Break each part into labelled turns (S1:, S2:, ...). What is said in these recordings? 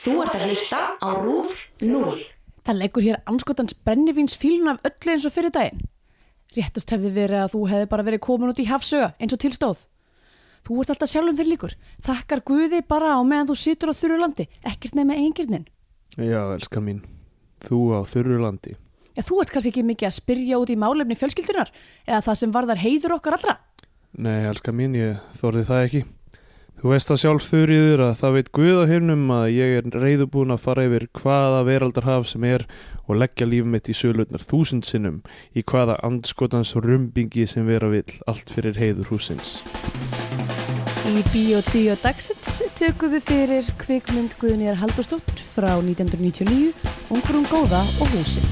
S1: Þú ert að hlusta á RÚF 0.
S2: Það leggur hér anskotans brennivíns fílun af öllu eins og fyrir daginn. Réttast hefði verið að þú hefði bara verið komin út í hafsöga eins og tilstóð. Þú ert alltaf sjálfum þér líkur. Þakkar Guði bara á meðan þú situr á þurru landi, ekkert nema engirnin.
S3: Já, elskan mín, þú á þurru landi.
S2: Já, þú ert kannski ekki mikið að spyrja út í málefni fjölskyldunar eða það sem varðar heiður okkar allra.
S3: Nei, elskan mín, ég þorði það ekki. Þú veist það sjálf þurriður að það veit Guð á himnum að ég er reyðubúin að fara yfir hvaða veraldarhaf sem er og leggja líf mitt í sölutnar þúsund sinnum í hvaða andskotans rumbingi sem vera vill allt fyrir heiður húsins.
S2: Í Bíó 3 dagsins tökum við fyrir kvikmynd Guðnýjar Halldórsdóttur frá 1999, Ungrum góða og húsi.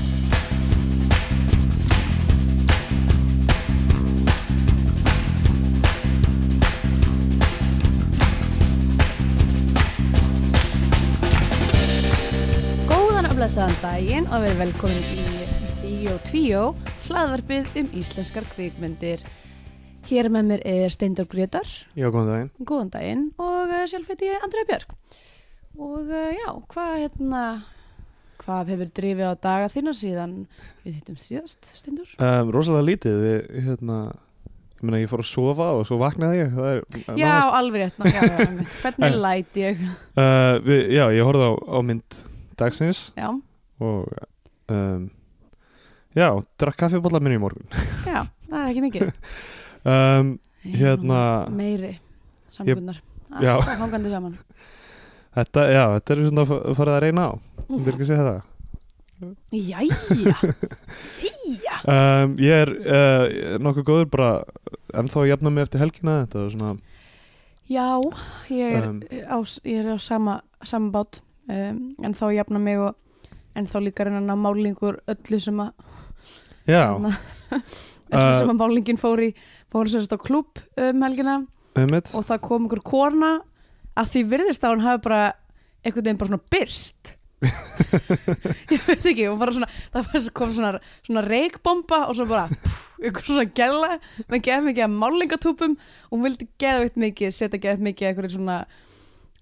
S2: Góðan og blessaðan daginn og verið velkomin í Bíó 2, hlaðvarpið um íslenskar kvikmyndir. Hér með mér er Steindor Gretar
S3: Já, góðan daginn.
S2: góðan daginn og uh, sjálf heiti ég Andrea Björk og uh, já, hvað hérna hvað hefur drifið á daga þína síðan við hittum síðast, Stendur?
S3: Um, rosalega lítið, við, hérna, ég meina ég fór að sofa og svo vaknaði ég. það Er,
S2: Já,
S3: nánast-
S2: alveg rétt, ná, já, já, einmitt. hvernig
S3: En-
S2: læt ég
S3: Uh, við, já, ég horfði á, á mynd dagsins
S2: já,
S3: og um, já, drakk kaffibólla minni í morgun
S2: já, það er ekki mikið
S3: um, Hérna-
S2: meiri samkunnar
S3: Já.
S2: alltaf hangandi saman
S3: þetta, já, þetta er svona fa- farið að reyna á þetta er ekki að segja það
S2: Jæja, jæja
S3: um, ég er uh, nokkuð góður bara ennþá að jafna mig eftir helgina þetta var svona,
S2: Já, ég er,
S3: Um.
S2: á, ég er á sama, sama bát um, en þá jafna mig og en þá líka reyna að ná málingur öllu sem að
S3: já,
S2: Þarna-
S3: Uh,
S2: öllu sem að málingin fór í fór sem sagt á klubb um helgina
S3: einmitt
S2: og það kom einhver korna að því virðist að hún hafi bara einhvern veginn bara svona byrst ég veit ekki hún bara svona, það bara kom svona, svona reikbomba og svo bara pff, einhver svona gæla með geð mikið af málingatúpum og hún vildi geðveitt mikið setja geðveitt mikið einhverju svona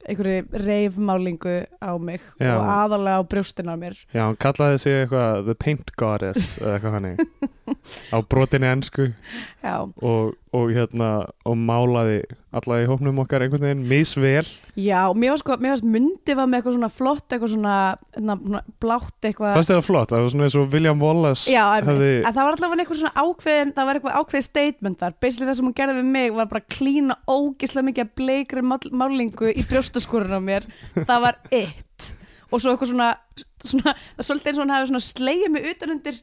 S2: einhverju reifmálingu á mig
S3: Já.
S2: og aðalega á brjóstin á mér
S3: já, hann kallaði sig eitthvað the paint goddess eða eitthvað hannig á brotinni ennsku
S2: já,
S3: og, og hérna og málaði alla í hópnum okkar einhvern veginn misvel
S2: já og mér var sko, mér varst myndi var með eitthvað svona flott eitthvað svona, svona, svona blátt eitthvað
S3: fannst þetta flott, það var svona eins og William Wallace
S2: Já, einmitt.
S3: hefði
S2: en það var alltaf einhver svona ákveðin það var eitthvað ákveðið statement þar basically það sem hún gerði við mig var bara að klína ógislega mikið af bleikri mál- málingu í brjóstaskorun á mér það var it og svo eitthvað svona, svona það er svolítið eins og hún hafi svona slegið mig utanundir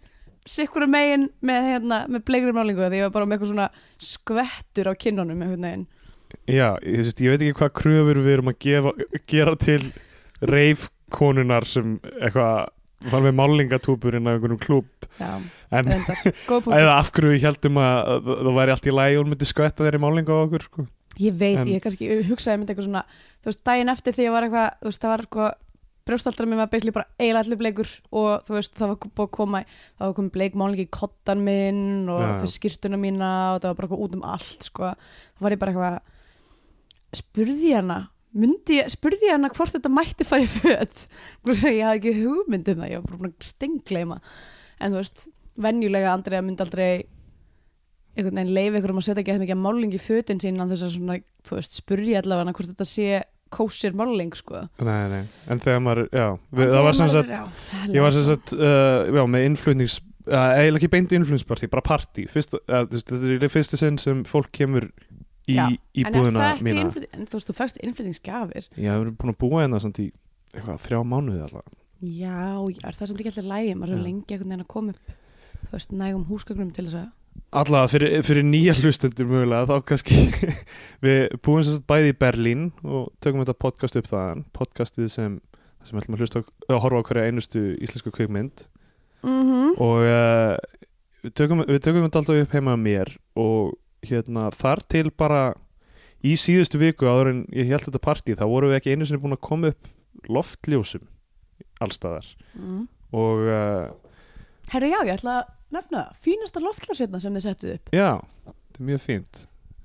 S2: sikkura um megin með, hérna, með bleikri málingu því ég var bara með eitthvað svona skvettur á kinnunum einhvern veginn
S3: Já, ég, þú veist, ég veit ekki hvað kröfur við erum að gefa, gera til reifkonunar sem eitthvað fann með málingatúpur inn á einhvernum klúb
S2: Já,
S3: en
S2: reyndar, góð punktur.
S3: eða af hverju við heldum að að það væri allt í lagi og hún myndi skvetta þeirri málinga á okkur sko.
S2: Ég veit,
S3: En-
S2: ég kannski ég hugsaði myndi eitthvað svona þú veist, daginn eftir því ég var eitthvað þú veist, það var eitthvað brjóstaldra mér var beisli bara eiginlega allir bleikur og þú veist, það var búið að koma það var komið bleikmálingi í kottan minn og
S3: Já, já.
S2: þau skýrtuna mína og það var bara eitthvað út um allt sko. það var ég bara eitthvað spurði ég hana myndi, ég- spurði ég hana hvort þetta mætti fara í föt Þú veist, ég hafði ekki hugmynd um það ég var bara búin að stengleima en þú veist, venjulega Andrea myndi aldrei einhvern veginn leiði ykkur um að setja ekki eitthvað mikið af máling í fötin sín án þess að svona, þú veist, spurja allavega hana hvort þetta sé kósir máling, sko.
S3: nei, nei. en þegar maður, já við, það var sem sagt, ég var sem sagt uh, já, með innflutnings uh, eiginlega ekki beint innflutningsparti, bara parti Fyrst, uh, þú veist, þetta er fyrsti sinn sem fólk kemur í,
S2: Já,
S3: í búðina
S2: En, er það
S3: mína
S2: ekki innflyt- en þú veist, þú fækst innflytningsgjafir.
S3: ég hef búin að búa hérna samt í eitthvað, þrjá mánuði alltaf
S2: Já, já, er það samt ekki alltaf lægi, maður er
S3: Já.
S2: svo lengi einhvern veginn að koma upp, þú veist, nægum húsgagnum til þess að,
S3: Alla fyrir, fyrir nýja hlustendur mögulega þá kannski við búum sem sagt bæði í Berlín og tökum þetta podcast upp þaðan podcastið sem, sem ætlum að hlusta á, að horfa á hverja einustu íslensku kvikmynd
S2: mhm,
S3: og uh, við, tökum, við tökum þetta alltaf upp heima á mér og hérna þar til bara í síðustu viku áður en ég held þetta partí þá vorum við ekki einu sinni búin að koma upp loftljósum allstaðar
S2: mhm.
S3: og uh,
S2: Herru, já, ég ætla að nefna það, fínasta loftlásjöfna sem þið settuð upp,
S3: já, þetta er mjög fínt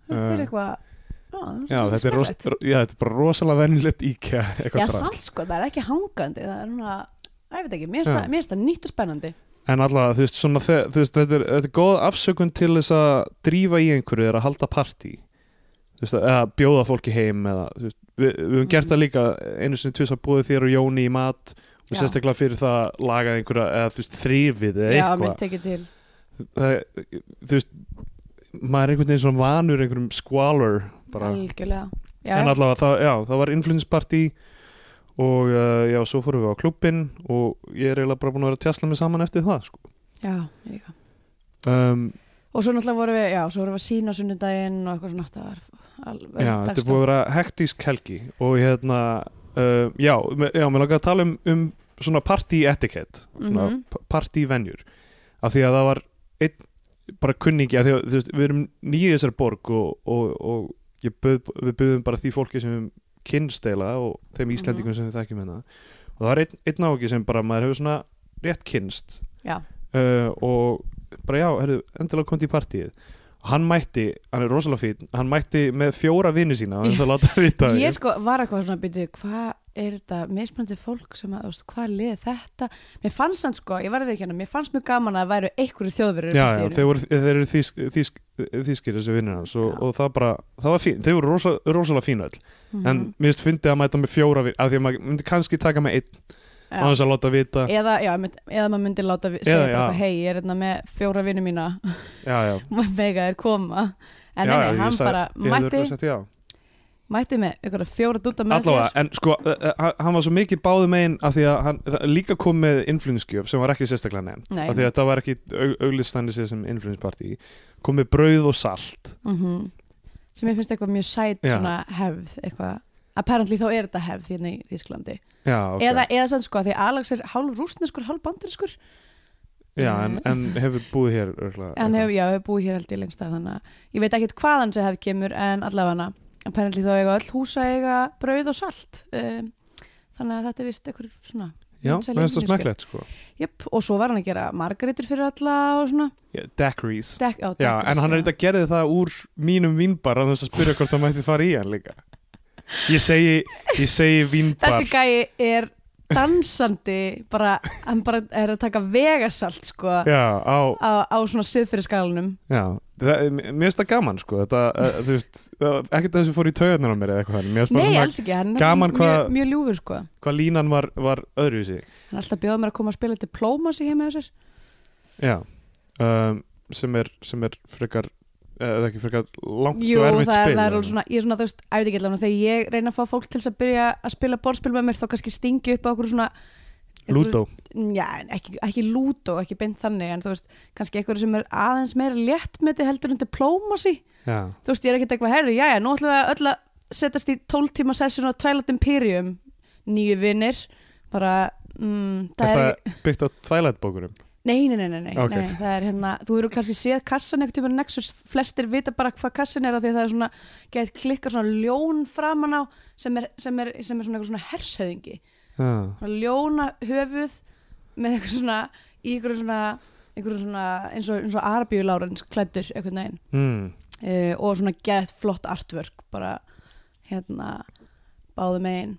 S2: þetta
S3: Eh.
S2: er eitthvað, já,
S3: Já,
S2: það
S3: þetta er, ros,
S2: smekklægt.
S3: já, þetta er bara rosalega venjulegt IKEA eitthvað
S2: Já,
S3: drasl.
S2: samt sko, það er ekki hangandi Það er svona, að ég veit ekki, mér
S3: Já.
S2: finnst það nýtt og spennandi
S3: En allavega, þú veist, svona, þe- þú veist þetta, er, þetta er góð afsökun til þess að drífa í einhverju er að halda partí þú veist, eða bjóða fólki heim eða, þú veist, við, við höfum gert það líka einu sinni tvis að búið þér og Jóni í mat og
S2: Mm. Já.
S3: sérstaklega fyrir það að lagað einhverja eða þú veist, þrýfið eða
S2: Já,
S3: eitthvað
S2: mér tekið til
S3: það, þú veist maður er einhvern veginn svona vanur einhverjum squalor bara,
S2: Algjörlega Já,
S3: en allavega það, já, það var influenspartí og uh, já, svo fórum við á klubbin og ég er eiginlega bara búin að vera að tjasla mig saman eftir það sko.
S2: já, ég líka
S3: um,
S2: Og svo náttúrulega vorum við, já, svo vorum við að sína sunnudaginn og eitthvað svona þetta var alveg
S3: já, þetta er búin að vera hektísk helgi og hérna uh, já, me- já, mér langar að tala um, um svona party etiquette svona
S2: Mhm.
S3: pa- party venjur af því að það var einn bara kunningi, af því að þú veist, við erum nýju í þessari borg og, og, og ég böð, við buðum bara því fólki sem við kynnsteila og þeim
S2: Mhm.
S3: Íslendingum sem við þekkjum hérna og það var einn, einn áhugi sem bara maður hefur svona rétt kynnst
S2: Já.
S3: uh, og bara já, herrðu, endilega komið í partíið og hann mætti, hann er rosalega fín hann mætti með fjóra vini sína og hann svo láta vita því.
S2: Ég sko var eitthvað svona að byrja hvað er þetta mismunandi fólk sem að, þú veist, hvað liði þetta Mér fannst hann sko, ég var að við ekki hérna, mér fannst mjög gaman að það væru einhverju þjóðverður í
S3: já, já,
S2: partíinu.
S3: þeir, voru, þeir eru þýsk, þýsk, þýskir þessi vinnir hans og,
S2: Já.
S3: og það bara, það var fín, þeir voru rosa, rosalega fín öll
S2: Mhm.
S3: en mér finnst fyndið að mæta með fjóra vini af því að maður myndi kannski taka með einn
S2: Já.
S3: á þess að láta vita já,
S2: eða, já, einmitt, eða maður myndi láta vi- segja
S3: Eða,
S2: bara,
S3: já.
S2: eitthvað, hei, ég er hérna með fjóra vinnu mína
S3: já,
S2: mega er koma en
S3: já,
S2: já,
S3: já, ég
S2: hann
S3: sagði-
S2: bara
S3: ég hefði
S2: mætti,
S3: örugglega sagt já.
S2: mætti með einhverja fjóra dúta með
S3: allavega, en sko uh, uh, hann- hann var svo mikið báðum einn af því að hann það- líka kom með influenskjöf sem var ekki sérstaklega nefnd
S2: sér Nei,
S3: af því að þetta var ekki aug, auglistandi sér sem influensparti kom með brauð og salt
S2: mhm. sem ég finnst eitthvað mjög sæt
S3: Já.
S2: svona hefð eitthvað apparently þá er þetta hefð hérna í Þísklandi
S3: já, ok.
S2: eða, eða sann sko, því Alex er hálf rúsneskur, hálf bandariskur
S3: já en, en hefur búið hér örgla,
S2: Mm. en hef, já, hefur búið hér held ég lengst af þannig að ég veit ekkert hvaðan sem hefð kemur en allavega apparently þá eiga öll húsa eiga brauð og salt um, þannig að þetta er vist eitthvað svona
S3: já,
S2: vinsæl
S3: mér finnst það
S2: influencer.
S3: smekklegt sko
S2: Jöp, og svo var hann að gera margaritur fyrir alla og svona
S3: yeah, Daiquiris
S2: Dek, á,
S3: Já, en hann er eitthvað að gera það úr mínum vínbar að þess að spyrja hvort það mætti fara í hann líka Ég segi, ég segi vínbar
S2: Þessi gæi er dansandi bara, hann bara er að taka vegasalt sko á,
S3: Já, á,
S2: á svona siðfyrirskalanum
S3: Já, það, mér mér finnst það gaman sko þetta, uh, þú veist, uh, ekkert að þessu fór í taugarnar á mér eða eitthvað, þannig. mér finnst bara
S2: Nei,
S3: Sko, svona
S2: alls ekki, hann er
S3: gaman
S2: mjög,
S3: hvað-
S2: mjög ljúfur sko
S3: hvað línan var, var öðru í sig
S2: Hann er alltaf bjóðað mér að koma að spila diplóma sig heima þessir
S3: Já, um, sem er sem er frekar, eh, er það ekki frekar langt
S2: Jú,
S3: og
S2: það er,
S3: erfitt
S2: það
S3: spil
S2: er
S3: en-
S2: alveg svona, ég er svona, þú veist, að ég veit ekki allavega Þegar ég reyna að fá fólk til þess að byrja að spila borðspil með mér Þá kannski stingi upp á okkur svona einhverju-
S3: Lúdó,
S2: já, en ekki, ekki lúto, ekki beint þannig en þú veist, kannski einhverju sem er aðeins meira létt með þetta heldur en diplomasi
S3: já,
S2: þú veist, ég er ekkert eitthvað herri, já, já, nú ætlum við að öll að setjast í 12 tíma session á Twilight Imperium nýju vinnir bara, mm,
S3: er
S2: það er,
S3: það
S2: ekki
S3: byggt á Twilight bókurum
S2: nei, nei, nei, nei, nei,
S3: Ok.
S2: nei, það er hérna þú eru kannski séð kassan eitthvað tíma nexus flestir vita bara hvað kassan er af því að það er svona gett klikkar svona ljón framan á sem er, sem er, sem er svona, einhver svona hershöðingi
S3: Já,
S2: svona ljóna höfuð með eitthvað svona í einhverju svona, einhverju svona eins og, eins og Arabíu Lárens klættur einhvern veginn
S3: mm.
S2: uh, og svona gett flott artwork bara hérna báðu megin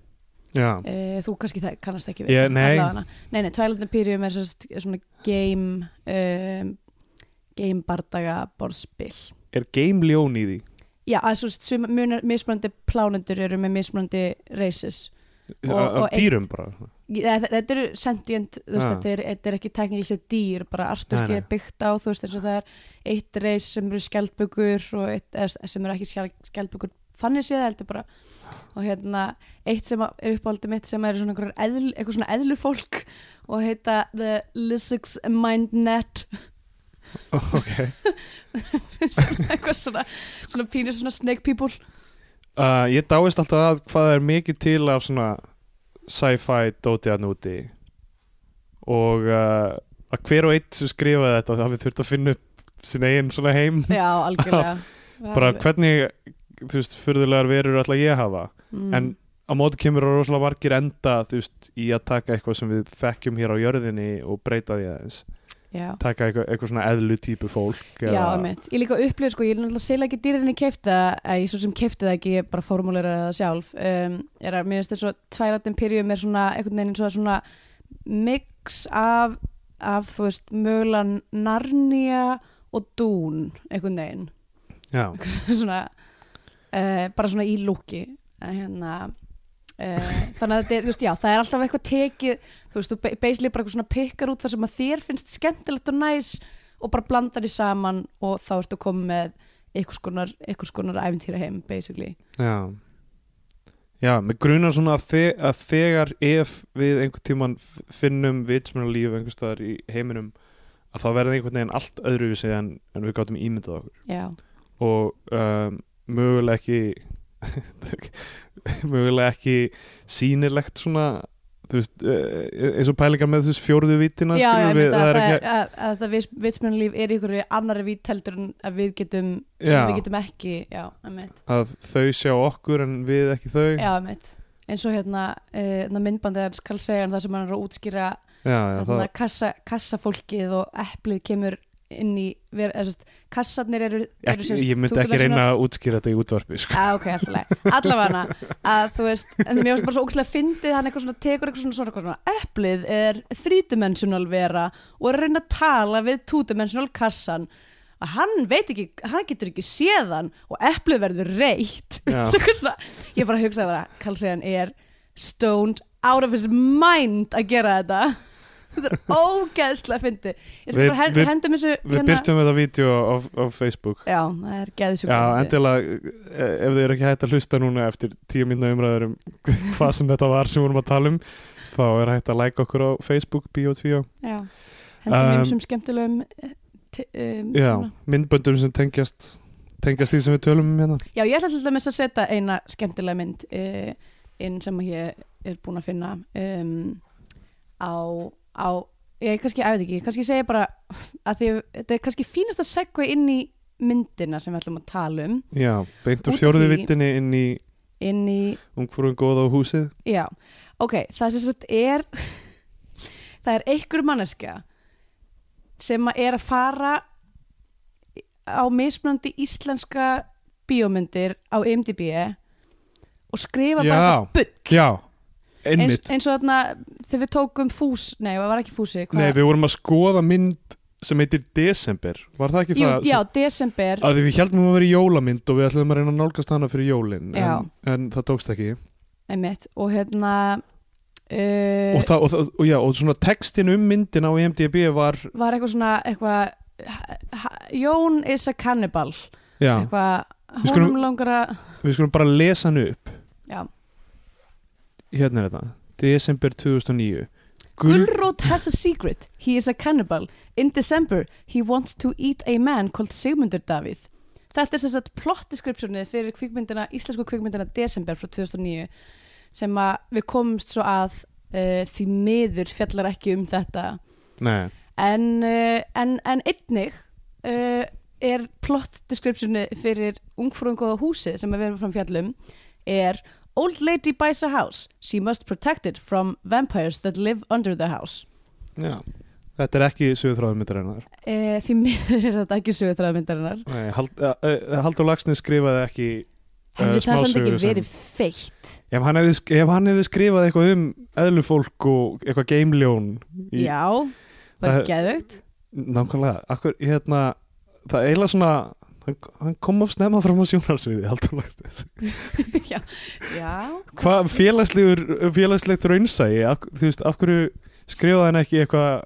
S3: já,
S2: uh, þú kannski það kannast ekki
S3: Ég- nei.
S2: allavega. nei, nei, Twilight Imperium er sérst, svona game um, game bardaga borðspil
S3: er game ljón í því
S2: já, að svo sum, munar, mismunandi plánendur eru með mismunandi races Og-
S3: af
S2: og eitt-
S3: dýrum bara
S2: Þe- þetta eru sentient þú veist,
S3: Ah.
S2: þetta, er, þetta er ekki teknileg sér dýr bara
S3: Nei,
S2: arturki
S3: nei.
S2: er byggt á þú veist eins og það er eitt reis sem eru skjaldbökur og eitt, eða, sem eru ekki skjal- skjaldbökur þannig séð heldur bara og hérna eitt sem að- er uppáhaldið mitt sem er svona einhverjar eðl, eitthvað svona eðlufólk og heita The Lizards Mind Net
S3: Ok,
S2: svona eitthvað svona, svona pínir svona snake people
S3: uh, ég dáist alltaf að hvað er mikið til af svona sci-fi dótið hann úti og uh, að hver og eitt sem skrifaði þetta það við þurft að finna upp sin eigin svona heim
S2: já, algjörlega
S3: bara hvernig, þú veist, furðulegar verur ætla ég að hafa,
S2: mm.
S3: en á móti kemur að rosalega margir enda, þú veist, í að taka eitthvað sem við þekkjum hér á jörðinni og breyta því aðeins
S2: já
S3: taka eitthvað, eitthvað svona eðlu típu fólk
S2: Já, einmitt. Ég líka upplifið, sko, ég er náttúrulega sel ekki dýrinni keipta það, eða ég svo sem keipta það ekki, ég bara formúlera það sjálf, um, er að mér finnst þess að Twilight Imperium er svona, einhvern veginn eins og það er svona mix af, af, þú veist, mögulega Narnia og Dún, einhvern veginn,
S3: Já,
S2: svona, uh, bara svona í lúki, En hérna, uh, þannig að þetta er, þú veist, já, það er alltaf eitthvað tekið, þú veist, þú ba- basically bara eitthvað svona pikkar út það sem að þér finnst skemmtilegt og næs og bara blandar því saman og þá ertu komið með einhvers konar, einhvers konar æfintýra heim, basically.
S3: já Já, með grunar svona að, þe að þegar ef við einhvern tíman finnum vitsmunarlíf einhvers staðar í heiminum að það verði einhvern veginn allt öðruvísi en, en við gátum ímyndað okkur
S2: Já,
S3: og um, mögulega ekki mögulega ekki sýnilegt svona þú veist, eh, eins og pælingar með þú veist fjórðu vítina
S2: já, já
S3: skilur
S2: ég
S3: við,
S2: veit að,
S3: það er
S2: að,
S3: ekki,
S2: að, að það vitsmjörnulíf er í ykkur annari vít heldur en að við getum, sem
S3: Já.
S2: við getum ekki, já, emitt,
S3: að þau sjá okkur en við ekki þau
S2: já, emitt. Eins og hérna, uh, myndbandið hans Carl Sagan, það sem hann er að útskýra
S3: já, já, það,
S2: þarna kassa, kassafólkið og eplið kemur inn í ver, eða, sest, kassarnir eru, eru
S3: ekki,
S2: sem sagt
S3: ég myndi ekki
S2: 20
S3: reyna að útskýra þetta í útvarpi sko.
S2: Ah, ok, alltaf allavega að þú veist, en mér finnst bara svo ógæslega fyndið hann eitthvað svona, tekur eitthvað svona, svona, eitthvað svona eplið er þrídimensional vera og er að reyna að tala við túdimensional kassan að hann veit ekki, hann getur ekki séð hann og eplið verður reytt
S3: Já.
S2: Eitthvað svona, ég bara hugsaði bara Karlsson er stoned out of his mind að gera þetta þetta er ógæslega fyndið ég
S3: Við-
S2: skal bara
S3: við-
S2: hen- hendum þessu hérna.
S3: við byrtum þetta vídeo á, á Facebook
S2: já, það er
S3: já,
S2: geðisjúkvæmdi
S3: endilega eh, ef þið eru ekki hægt að hlusta núna eftir tíu mínna umræður um hvað sem þetta var sem við vorum að tala um þá er hægt að like okkur á Facebook Bio2
S2: Já, hendur um,
S3: Um,
S2: mér sem skemmtilegum eh, t- um,
S3: Já,
S2: svona.
S3: myndböndum sem tengjast tengjast því sem við tölum um hérna
S2: Já, ég ætla til dæmis að setja eina skemmtilega mynd uh, inn sem ég er búin að finna um, á, á ég kannski, ég veit ekki, kannski segi ég bara að því, þetta er kannski fínast að segja inn í myndina sem við ætlum að tala um
S3: Já, beint úr
S2: Út
S3: fjórðu
S2: því-
S3: vittinni inn í
S2: inn í,
S3: ungfrúin góða á húsið
S2: já, ok það sem sagt er það er einhver manneska sem að er að fara á mismunandi íslenska bíómyndir á IMDb og skrifa bara
S3: Já.
S2: eitthvað bull
S3: Já,
S2: eins,
S3: einmitt
S2: eins og þarna þegar við tókum fús nei, það var ekki fúsi hvað-
S3: Nei, við vorum að skoða mynd sem heitir Desember Var það ekki
S2: Jú,
S3: það?
S2: já, desember
S3: Að því við heldum að vera jólamynd og við ætlum að reyna að nálgast hana fyrir jólin
S2: Já.
S3: en, en það tókst ekki
S2: einmitt, og hérna uh,
S3: og, það, og, það, og, já, og svona textin um myndin á IMDb var
S2: var eitthvað svona eitthvað ha- ha- Jón is a cannibal
S3: já,
S2: eitthvað,
S3: Við skulum-
S2: honum langar að
S3: Við skulum bara lesa hann upp
S2: já,
S3: Hérna er þetta Desember 2009
S2: Gulrot has a secret. He is a cannibal. In December, he wants to eat a man called Sigmundur Davíð. Þetta er sem sagt plot descriptionið fyrir kvikmyndina, íslensku kvikmyndina December frá 2009 sem að við komumst svo að uh, því miður fjallar ekki um þetta
S3: Nei,
S2: en, uh, en, en einnig uh, er plot descriptioni fyrir ungfrúingóða húsið sem við erum fram fjallum er Old lady buys a house. She must protect it from vampires that live under the house.
S3: já Þetta er ekki sögutráðum myndarinnar
S2: Uh, því miður er þetta ekki sögur þræðmyndarinnar.
S3: Nei, Hald- eh, eh, Halldór Laxness skrifaði ekki
S2: Hefði
S3: Eh,
S2: það samt
S3: smásögur
S2: ekki
S3: sem-
S2: verið feitt.
S3: ef hann hefði, sk- ef hann hefði skrifað eitthvað um eðlufólk og eitthvað geimljón í,
S2: Já, bara
S3: Það-
S2: geðvögt.
S3: nákvæmlega akkur, hérna, það er eiginlega svona hann, hann kom of snemma fram á sjónarsviði Halldór Laxness
S2: já, já.
S3: hvað félagslegur félagslegt raunsæi af, þú veist, af hverju skrifaði hann ekki eitthvað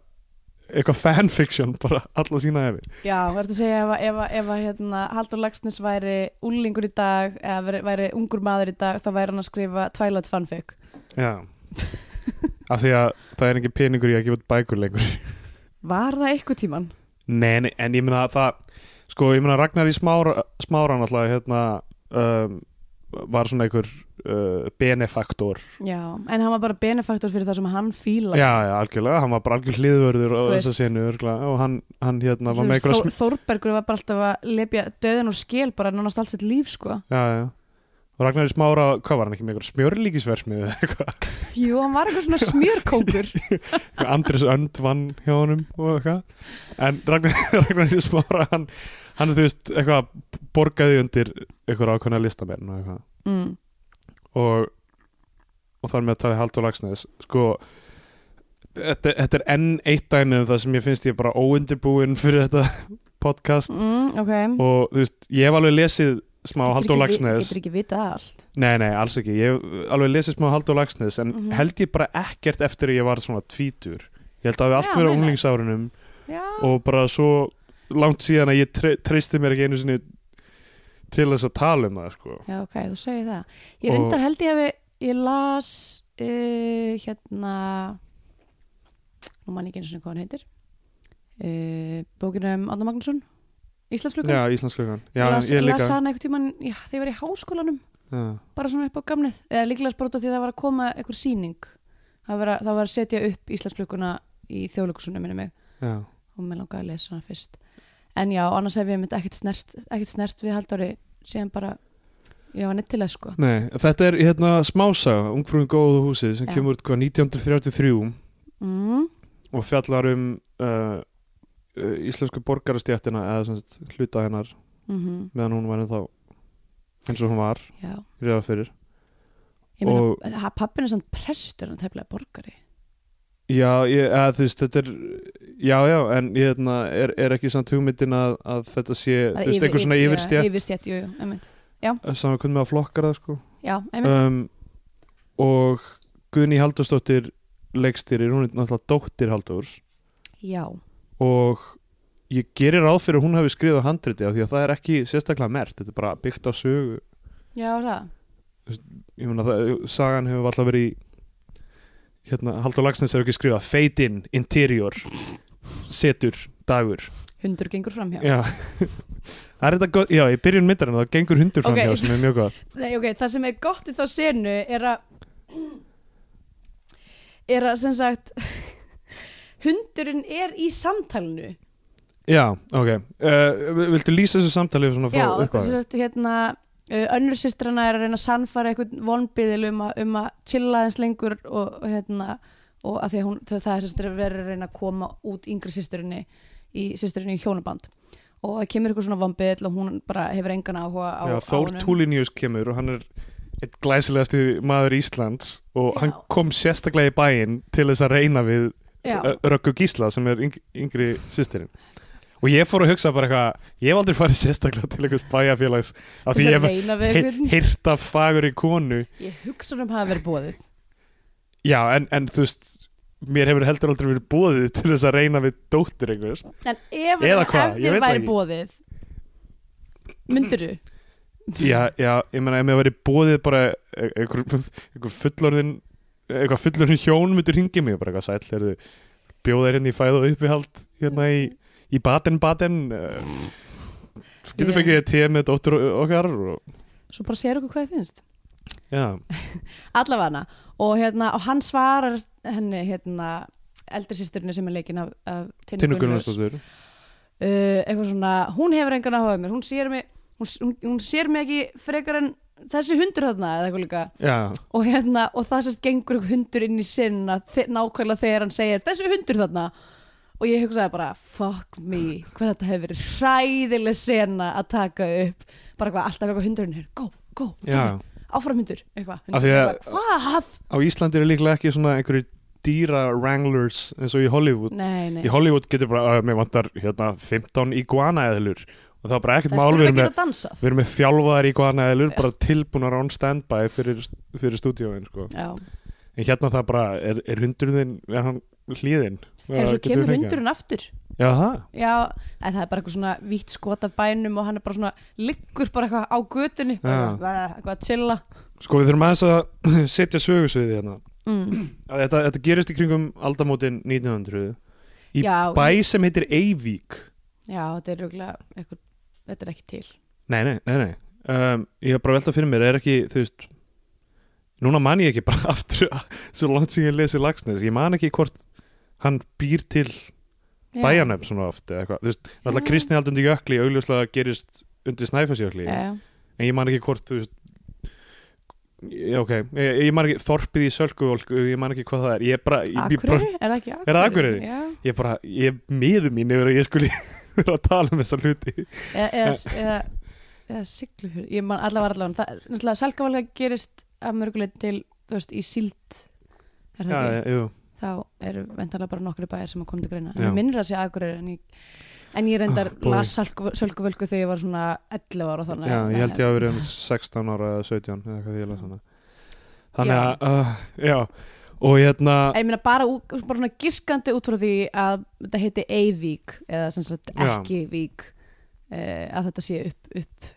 S3: eitthvað fanfiction bara alla sína hefi
S2: Já, verður að segja ef, að- ef, að- ef að, hérna, Haldur Lagsnes væri úlingur í dag eða væri, væri ungur maður í dag þá væri hann að skrifa Twilight fanfic
S3: já af því að það er ekki peningur í að gefa út bækur lengur
S2: Var það eitthvað tíman?
S3: Nei, nei, en ég meina að það sko, ég meina Ragnar í smára, smáran alltaf, hérna um, var svona einhver uh, benefaktor,
S2: Já, en hann var bara benefaktor fyrir það sem hann fíla
S3: já, já, algjörlega hann var bara algjör hliðvörður á
S2: Þú
S3: þessa
S2: veist.
S3: senu örgulega, og hann, hann hérna var
S2: Þú
S3: með
S2: veist,
S3: einhverja sm-
S2: Þór, Þórbergur var bara alltaf að lepja döðin og skil bara nánast allt sitt líf sko
S3: já, já, Og Ragnar í smára, hvað var hann ekki með einhver smjörlíkisversmið eða eitthvað?
S2: Jú, hann var eitthvað svona smjörkókur
S3: Andris Önd vann hjá honum og eitthvað. En Ragnar, Ragnar í smára, hann, hann þú veist, eitthvað borgaði undir einhver ákveðna listamenn og eitthvað.
S2: mm.
S3: Og, og þar með að tala Haldur Lagsnes. Sko, þetta, þetta er enn eitt dæmi um það sem ég finnst ég bara óundirbúinn fyrir þetta podcast.
S2: Mm, ok
S3: Og þú veist, ég hef alveg lesið smá
S2: Getur
S3: Haldur
S2: ekki vi-
S3: Lagsnes.
S2: Getur ekki vita allt
S3: Nei, nei, alls ekki. Ég hef alveg lesið smá Halldór Lagsnes en
S2: Mhm.
S3: held ég bara ekkert eftir að ég var svona tvítur. Ég held að við allt
S2: Já,
S3: verið á
S2: nei, nei.
S3: unglingsárunum
S2: Já,
S3: og bara svo langt síðan að ég tre treysti mér ekki einu sinni til þess að tala um það, sko.
S2: Já, ok, þú segir það Ég
S3: Og-
S2: reyndar held ég að við, ég las uh, hérna nú man ég ekki einu sinni hvað hann heitir uh, bókinu um Anna Magnússon Íslandsflugan
S3: Já, Íslandslugan.
S2: ég
S3: Já,
S2: las,
S3: ég
S2: las
S3: líka.
S2: hana einhvern tímann já, þegar ég var í háskólanum
S3: Já.
S2: bara svona upp á gamnið eða líklega spróta því að það var að koma einhver sýning það var, að- það var að setja upp Íslandsfluguna í þjóðlökusunum minni mig
S3: Já.
S2: og mér langaði að lesa hana fyrst en já, annars hef ég mynd ekkert snert, ekkert snert við Halldóri síðan bara ég var neitt til þess sko
S3: Nei, þetta er hérna smásaga, Ungfrúin góðu húsið sem
S2: Já.
S3: kemur út hvað 1933
S2: mm.
S3: og fjallar um uh, uh, íslensku borgarastjættina eða sem sagt, hluta hennar
S2: Mm
S3: meðan hún var ennþá eins og hún var,
S2: Já,
S3: reyða fyrir.
S2: ég meina,
S3: Og-
S2: og... pappin er samt prestur hann tefnilega borgari
S3: Já, ég, að, þú veist, þetta er já, já, en ég hefna, er, er ekki samt hugmyndin að, að þetta sé þú veist, einhver svona yfirstjætt yfir,
S2: Yfirstjætt, jú, jú, einmitt
S3: saman hvernig með að flokkar það, sko
S2: Já, einmitt,
S3: um, og Guðný Halldórsdóttir leikstýrir, hún er náttúrulega dóttir Halldórs
S2: já
S3: og ég gerir ráð fyrir að hún hafi skrifað handriti af því að það er ekki sérstaklega mert, þetta er bara byggt á sögu
S2: Já, er það,
S3: ég meina, það, sagan hefur alltaf verið í hérna, Halldór Lagsnes hefur ekki skrifað fade in, interior setur, dagur
S2: hundur gengur fram hjá
S3: Já, það er þetta gott, já, í byrjun myndarinn þá gengur hundur fram hjá
S2: Ok.
S3: sem er mjög gott
S2: Nei, ok, það sem er gott í þá senu er að er að sem sagt hundurinn er í samtalinu
S3: Já, ok, uh, viltu lýsa þessu samtali svona frá
S2: Já, sem
S3: upphafi?
S2: sagt hérna uh, önnur sýstrana er að reyna að sannfara einhvern vonbyðil um, að- um að chilla aðeins lengur og og hérna og að því að hún, það það er sem sagt verið að reyna að koma út yngri sýsturinni í sýsturinni í hjónaband og það kemur eitthvað svona vonbyðil og hún bara hefur engan áhuga á,
S3: Já,
S2: á
S3: Þór
S2: honum.
S3: Túlinius kemur og hann er eitt glæsilegasti maður Íslands og
S2: Já.
S3: hann kom sérstaklega í bæinn til þess að reyna við
S2: Já.
S3: uh, Röggu Gísla sem er yng yngri sýstirinn og ég fór að hugsa bara eitthvað ég hef aldrei farið sérstaklega til einhvers bæjarfélags af því
S2: Til
S3: ég
S2: að
S3: hef
S2: reyna við
S3: heyrt-
S2: einhvern.
S3: heyrt af fagur í konu
S2: Ég hugsa um hafa verið bóðið
S3: Já, en, en þú veist mér hefur heldur aldrei verið bóðið til þess að reyna við dóttir einhvers
S2: En ef,
S3: Eða
S2: ef
S3: hvað?
S2: þér
S3: Ég veit það
S2: væri
S3: ekki.
S2: bóðið Myndirðu?
S3: Já, já, ég meina, ef mér væri bóðið bara e- einhver, einhver fullorðin eitthvað fullorðin hjón myndir hringi mig bara eitthvað sæll, eru þið bjóðað hérna í fæð og uppihald hérna í, í baten-baten uh, getur
S2: Já.
S3: fengið þér tíð með dóttur og- okkar og,
S2: Svo bara sér okkur hvað þið finnst
S3: já,
S2: Allavega og, hérna, og hann svarar henni hérna, eldri sýsturinni sem er leikin af, af Tinnu
S3: Tinnu
S2: Gunnlaugs.
S3: Gunnarsdóttur
S2: uh, eitthvað svona, hún hefur engan áhuga á mér hún sér mig, hún, hún, hún sér mig ekki frekar en þessi hundur þarna eða eitthvað líka
S3: Já,
S2: og, hérna, og það sérst gengur einhver hundur inn í sinna nákvæmlega þegar hann segir þessi hundur þarna og ég hugsaði bara fuck me, hvað þetta hefur verið hræðileg sena að taka upp bara hvað, alltaf eitthvað hundurinn hér go, go,
S3: já,
S2: áfram hundur eitthvað,
S3: Af
S2: hundur,
S3: því að-
S2: eitthvað, hvað?
S3: á Íslandi eru líklega ekki svona einhverju dýra wranglers eins og í Hollywood
S2: Nei, nei
S3: í Hollywood getur bara, að mér vantar hérna 15 iguana eðlur og það er bara ekkert
S2: Það
S3: mál
S2: þurfa að
S3: við erum með
S2: geta dansað
S3: Við erum með þjálfaðar í hvað annað eðlur, bara tilbúnar on standby fyrir, fyrir stúdíóin, sko.
S2: Já,
S3: En hérna það bara, er, er hundurinn, er hann hlýðinn?
S2: en svo kemur hundurinn aftur
S3: Já, það.
S2: Já, en það er bara eitthvað svona vítt skot af bænum og hann er bara svona liggur bara eitthvað á götunni bara
S3: Já.
S2: eitthvað eitthvað að chilla
S3: Sko, við þurfum aðeins að setja sögusviði hérna.
S2: mm.
S3: Að Þetta, þetta gerist í kringum aldamótin 1900. Í
S2: Já,
S3: Bæ sem heitir Eyvík.
S2: Já, þetta er rúglega eitthvað, þetta er ekki til
S3: Nei, nei, nei, nei. Um, ég hef bara veltað fyrir mér, er ekki, þú veist, núna man ég ekki bara aftur að, svo langt sem ég lesi Lagsnes, ég man ekki hvort hann býr til
S2: Já. Mm.
S3: bæjanöfn svona oft eða eitthvað, þú veist, náttúrulega
S2: Já.
S3: kristni aldundi jökli augljóslega gerist undir snæfasjökli
S2: Já, já.
S3: en ég man ekki hvort, þú veist Já, ok, ég, ég man ekki þorpið í sölkuvolku, ég man ekki hvað það er ég bara, ég, ég bara,
S2: Akureyri? Er það ekki Akureyri?
S3: það Akureyri?
S2: Já.
S3: ég bara, ég miður mín yfir að ég skuli vera að tala um þessa hluti
S2: Eða, eða, eða, eða siglufjörð. Ég man allavega allavega. Það er náttúrulega selgavalga gerist að mörguleið til, þú veist, í síld. Er það
S3: Já,
S2: ekki?
S3: já, jú,
S2: Þá eru vendarlega bara nokkri bæjar sem að koma til greina. En
S3: Já. Ah,
S2: ég minnir að sé Akureyri en ég, en ég reyndar
S3: boy.
S2: las sölguvölku þegar ég var svona 11 ára þannig.
S3: já,
S2: að-
S3: ég held ég að vera um 16 ára eða 17 eða hvað ég las hana Þannig
S2: Já.
S3: að, uh, já, og hérna
S2: Ég meina bara, ú- bara svona giskandi út frá því að þetta heiti Eivík eða sem sagt
S3: Já.
S2: ekki Vík uh, að þetta sé upp, upp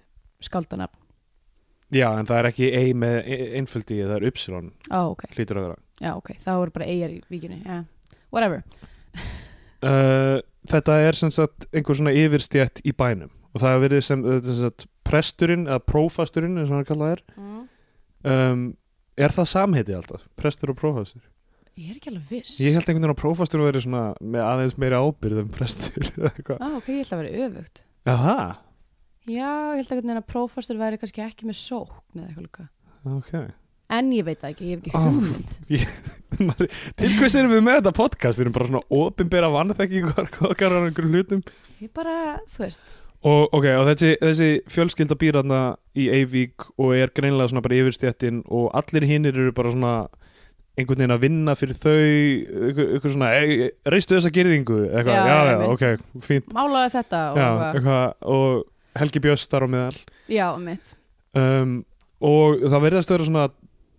S2: skáldanab.
S3: Já, en það er ekki ei með einföldi, það er upsilon,
S2: Á, ok.
S3: hlýtur að vera
S2: Já, ok. Þá eru bara eigar í víkinni. Já. Whatever.
S3: Uh, þetta er sem sagt einhver svona yfirstjætt í bænum og það er verið sem, þetta er sem sagt, presturinn eða prófasturinn eins og hann kallað er um, er það samheiti alltaf, prestur og prófastur
S2: Ég er ekki alveg viss.
S3: ég held einhvern veginn að prófastur verið svona með aðeins meira ábyrð en prestur eða eitthvað.
S2: Á, ok, ég held að vera öfugt.
S3: Já, það,
S2: Já, ég held að hvernig að prófastur væri kannski ekki með sókn eða eitthvað líka.
S3: ok
S2: En ég veit það ekki, ég hef ekki
S3: Ó.
S2: hugmynd.
S3: Maður- til hvers erum við með þetta podcast við erum bara svona opinbera vannþekkingar okkar á einhverjum hlutum
S2: Ég bara, þú veist.
S3: og, ok, og þessi, þessi fjölskylda býr þarna í Eivík og er greinlega svona bara yfirstjættin og allir hinnir eru bara svona einhvern veginn að vinna fyrir þau ykkur, ykkur svona, "Ey, reistu þessa gerðingu eitthvað,
S2: Já,
S3: já, já,
S2: einmitt.
S3: ok, fínt
S2: Málaði þetta og
S3: já,
S2: eitthvað.
S3: eitthvað, og Helgi Björns þar á meðal
S2: Já, mitt.
S3: um, og það verðast vera svona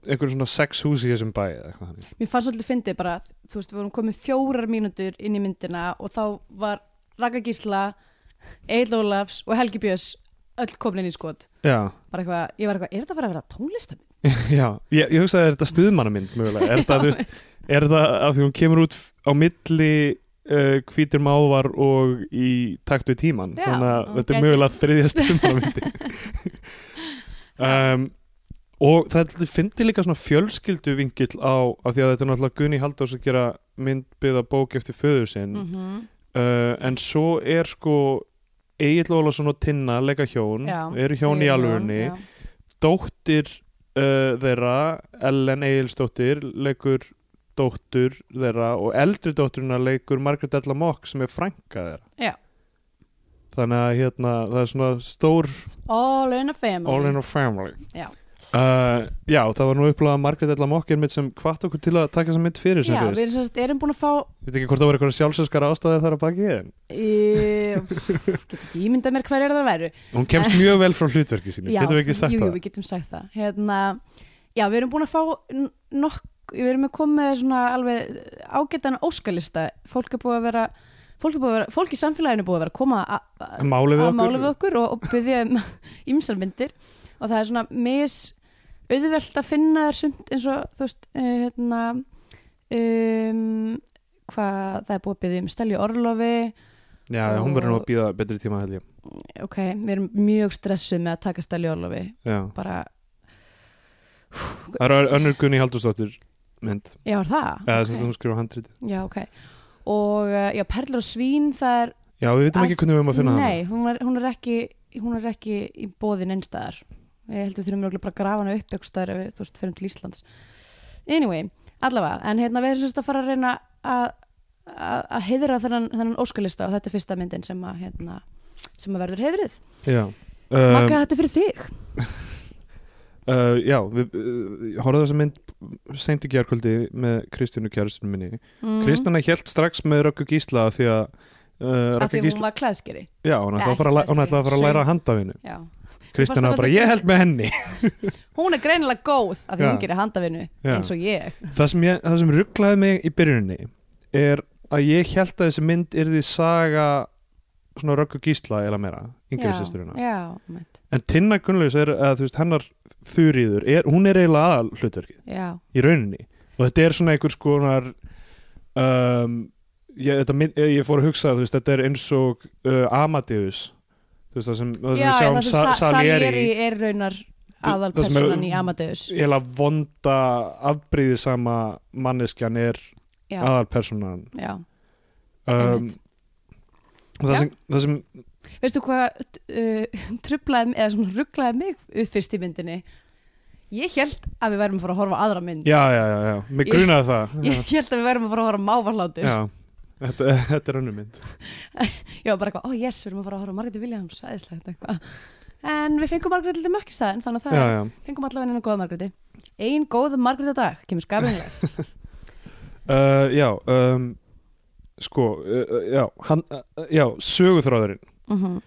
S3: einhver svona sex hús í þessum bæ eða eitthvað þannig.
S2: Mér fannst svolítið fyndið bara, þú veist, við vorum komið fjórar mínútur inn í myndina og þá var Raka Gísla, Egil Ólafs og Helgi Björns öll komin inn í skot.
S3: já,
S2: Bara eitthvað, ég var eitthvað, er þetta bara að vera tónlistam?
S3: já, ég, ég hugsaði er þetta stuðmannamind mögulega, er þetta, þú veist Er það af því hún kemur út f- á milli uh, hvítir mávar og í takt við tíman
S2: Já,
S3: þannig að
S2: hún
S3: þetta er
S2: gæti-
S3: mögulega þriðja stundamindi um, og það finnir líka svona fjölskyldu vingill á, af því að þetta er náttúrulega Gunni Haldós að gera myndbyða bók eftir föður sinn
S2: Mm. Mhm.
S3: uh, en svo er sko Egil Ólafsson og Tinna leika hjón,
S2: Já,
S3: eru hjón í alvörunni dóttir uh, þeirra Ellen Egilsdóttir leikur dóttur þeirra og eldri dótturina leikur Margaret Ella Mock sem er frænka þeirra
S2: Já.
S3: þannig að hérna það er svona stór
S2: All in a family.
S3: all in our family
S2: Mm. Já.
S3: Uh, já, það var nú upplega Margaret Ella Mock er mitt sem hvart okkur til að taka þessa mynd fyrir sem
S2: Já, við erum,
S3: fyrst,
S2: sérst, erum búin að fá,
S3: við veit ekki hvort það var eitthvað sjálfsöskar ástæðar þar að baki en
S2: e, get ekki ímyndað mér hver er það að veru.
S3: hún kemst mjög vel frá hlutverki sínu, getum við ekki sagt
S2: jú, Jú,
S3: það
S2: við getum sagt það. Hérna, já, við erum búin að fá n- nokk, við erum að koma með svona alveg ágættan óskalista. Fólk er búið að vera, fólk, er búið að vera, fólk í samfélaginu er búið að vera að koma a- a-
S3: En málið við
S2: að
S3: okkur
S2: mála við okkur og, og byggja um ýmsar myndir og það er svona mis auðvelt að finna þær sumt eins og þú veist uh, hérna um, hvað það er búið að byggja um Stelju Orlofi
S3: já, hún verður nú að býða betri tíma held ég
S2: ok, við erum mjög stressuð með að taka Stelju Orlofi
S3: já.
S2: bara,
S3: það er önnur Gunni Haldursdóttir mynd
S2: já er það?
S3: eða
S2: Ok.
S3: sem hún skrifa handrit
S2: já ok og uh, já, Perlur og Svín það er,
S3: Já, við veitum
S2: Að-
S3: ekki hvernig við erum að finna
S2: Ah, nei, hún er, hún er ekki hún er ekki í bóðin einstæðar ég heldur þurfum örugglega bara að grafa hana upp einhverstaðar ef við, þú veist, ferum til Íslands anyway, allavega, en hérna við erum sérst að fara að reyna að að að heiðra þennan, þennan óskalista og þetta er fyrsta myndin sem að hérna, sem að verður heiðrið
S3: hana.
S2: Magga,
S3: Já, um,
S2: þetta er fyrir þig
S3: uh, já við uh, horfðum þessa mynd seint í gerkvöldi með Kristjánu kjærustunum minni.
S2: mm.
S3: Kristjana hélt strax með Röggu Gísla af því að
S2: af
S3: uh, Röggu
S2: því að hún
S3: Gísla,
S2: var klæðskeri
S3: já, hún ætlaði
S2: Nei,
S3: að fara að læ-
S2: ekki
S3: hún ætlaði að fara að
S2: söng.
S3: læra að handa henni.
S2: já.
S3: Kristjana
S2: Varstu
S3: bara,
S2: aldrei-
S3: ég held með henni.
S2: hún er greinilega góð af því
S3: Já.
S2: hún gerir handavinu
S3: Já.
S2: eins og ég
S3: það sem, ég- það sem rugglaði mig í byrjuninni er að ég held að þessi mynd yrði saga svona Röggu Gísla eða meira, yngri sýsturina.
S2: já, já, mitt.
S3: En Tinna Gunnlaus er, eða þú veist, hennar þurriður, er, hún er eiginlega aðal hlutverkið.
S2: já,
S3: í rauninni og þetta er svona einhvers konar um, ég, þetta, mynd- ég ég fór að hugsa þú veist, þetta er eins og uh, Amadeus þú veist það sem, það sem
S2: já,
S3: við
S2: já,
S3: sjáum
S2: það sem
S3: Sa-
S2: Sa-
S3: Salieri,
S2: Salieri er raunar
S3: það sem er-
S2: aðalpersonan í Amadeus
S3: ég hef vonda afbrýði sama manneskjan er
S2: já,
S3: aðalpersonan
S2: já.
S3: um,
S2: Einmitt.
S3: það,
S2: Já.
S3: sem, það sem
S2: veistu hvað uh, trublaði, eða svona rugglaði mig upp fyrst í myndinni Ég held að við værum að fara að horfa á aðra mynd
S3: Já, já, já, já, mig
S2: Ég-
S3: grunaði það
S2: Ég held að við værum að fara að horfa á mávarhlátur
S3: Já, þetta, þetta er önnum mynd
S2: Ég var bara eitthvað, ó oh, yes, við erum að fara að horfa á Margréti Williams, æðislegt eitthvað En við fengum Margréti til mökkistæðin, þannig að það
S3: Já,
S2: er
S3: já,
S2: fengum allavega einu góða Margréti Ein góð Margréti á dag, kemur skafinlega
S3: uh, já um, Sko, uh, uh, já, hann, uh, já, söguþráðurinn
S2: mm -hmm.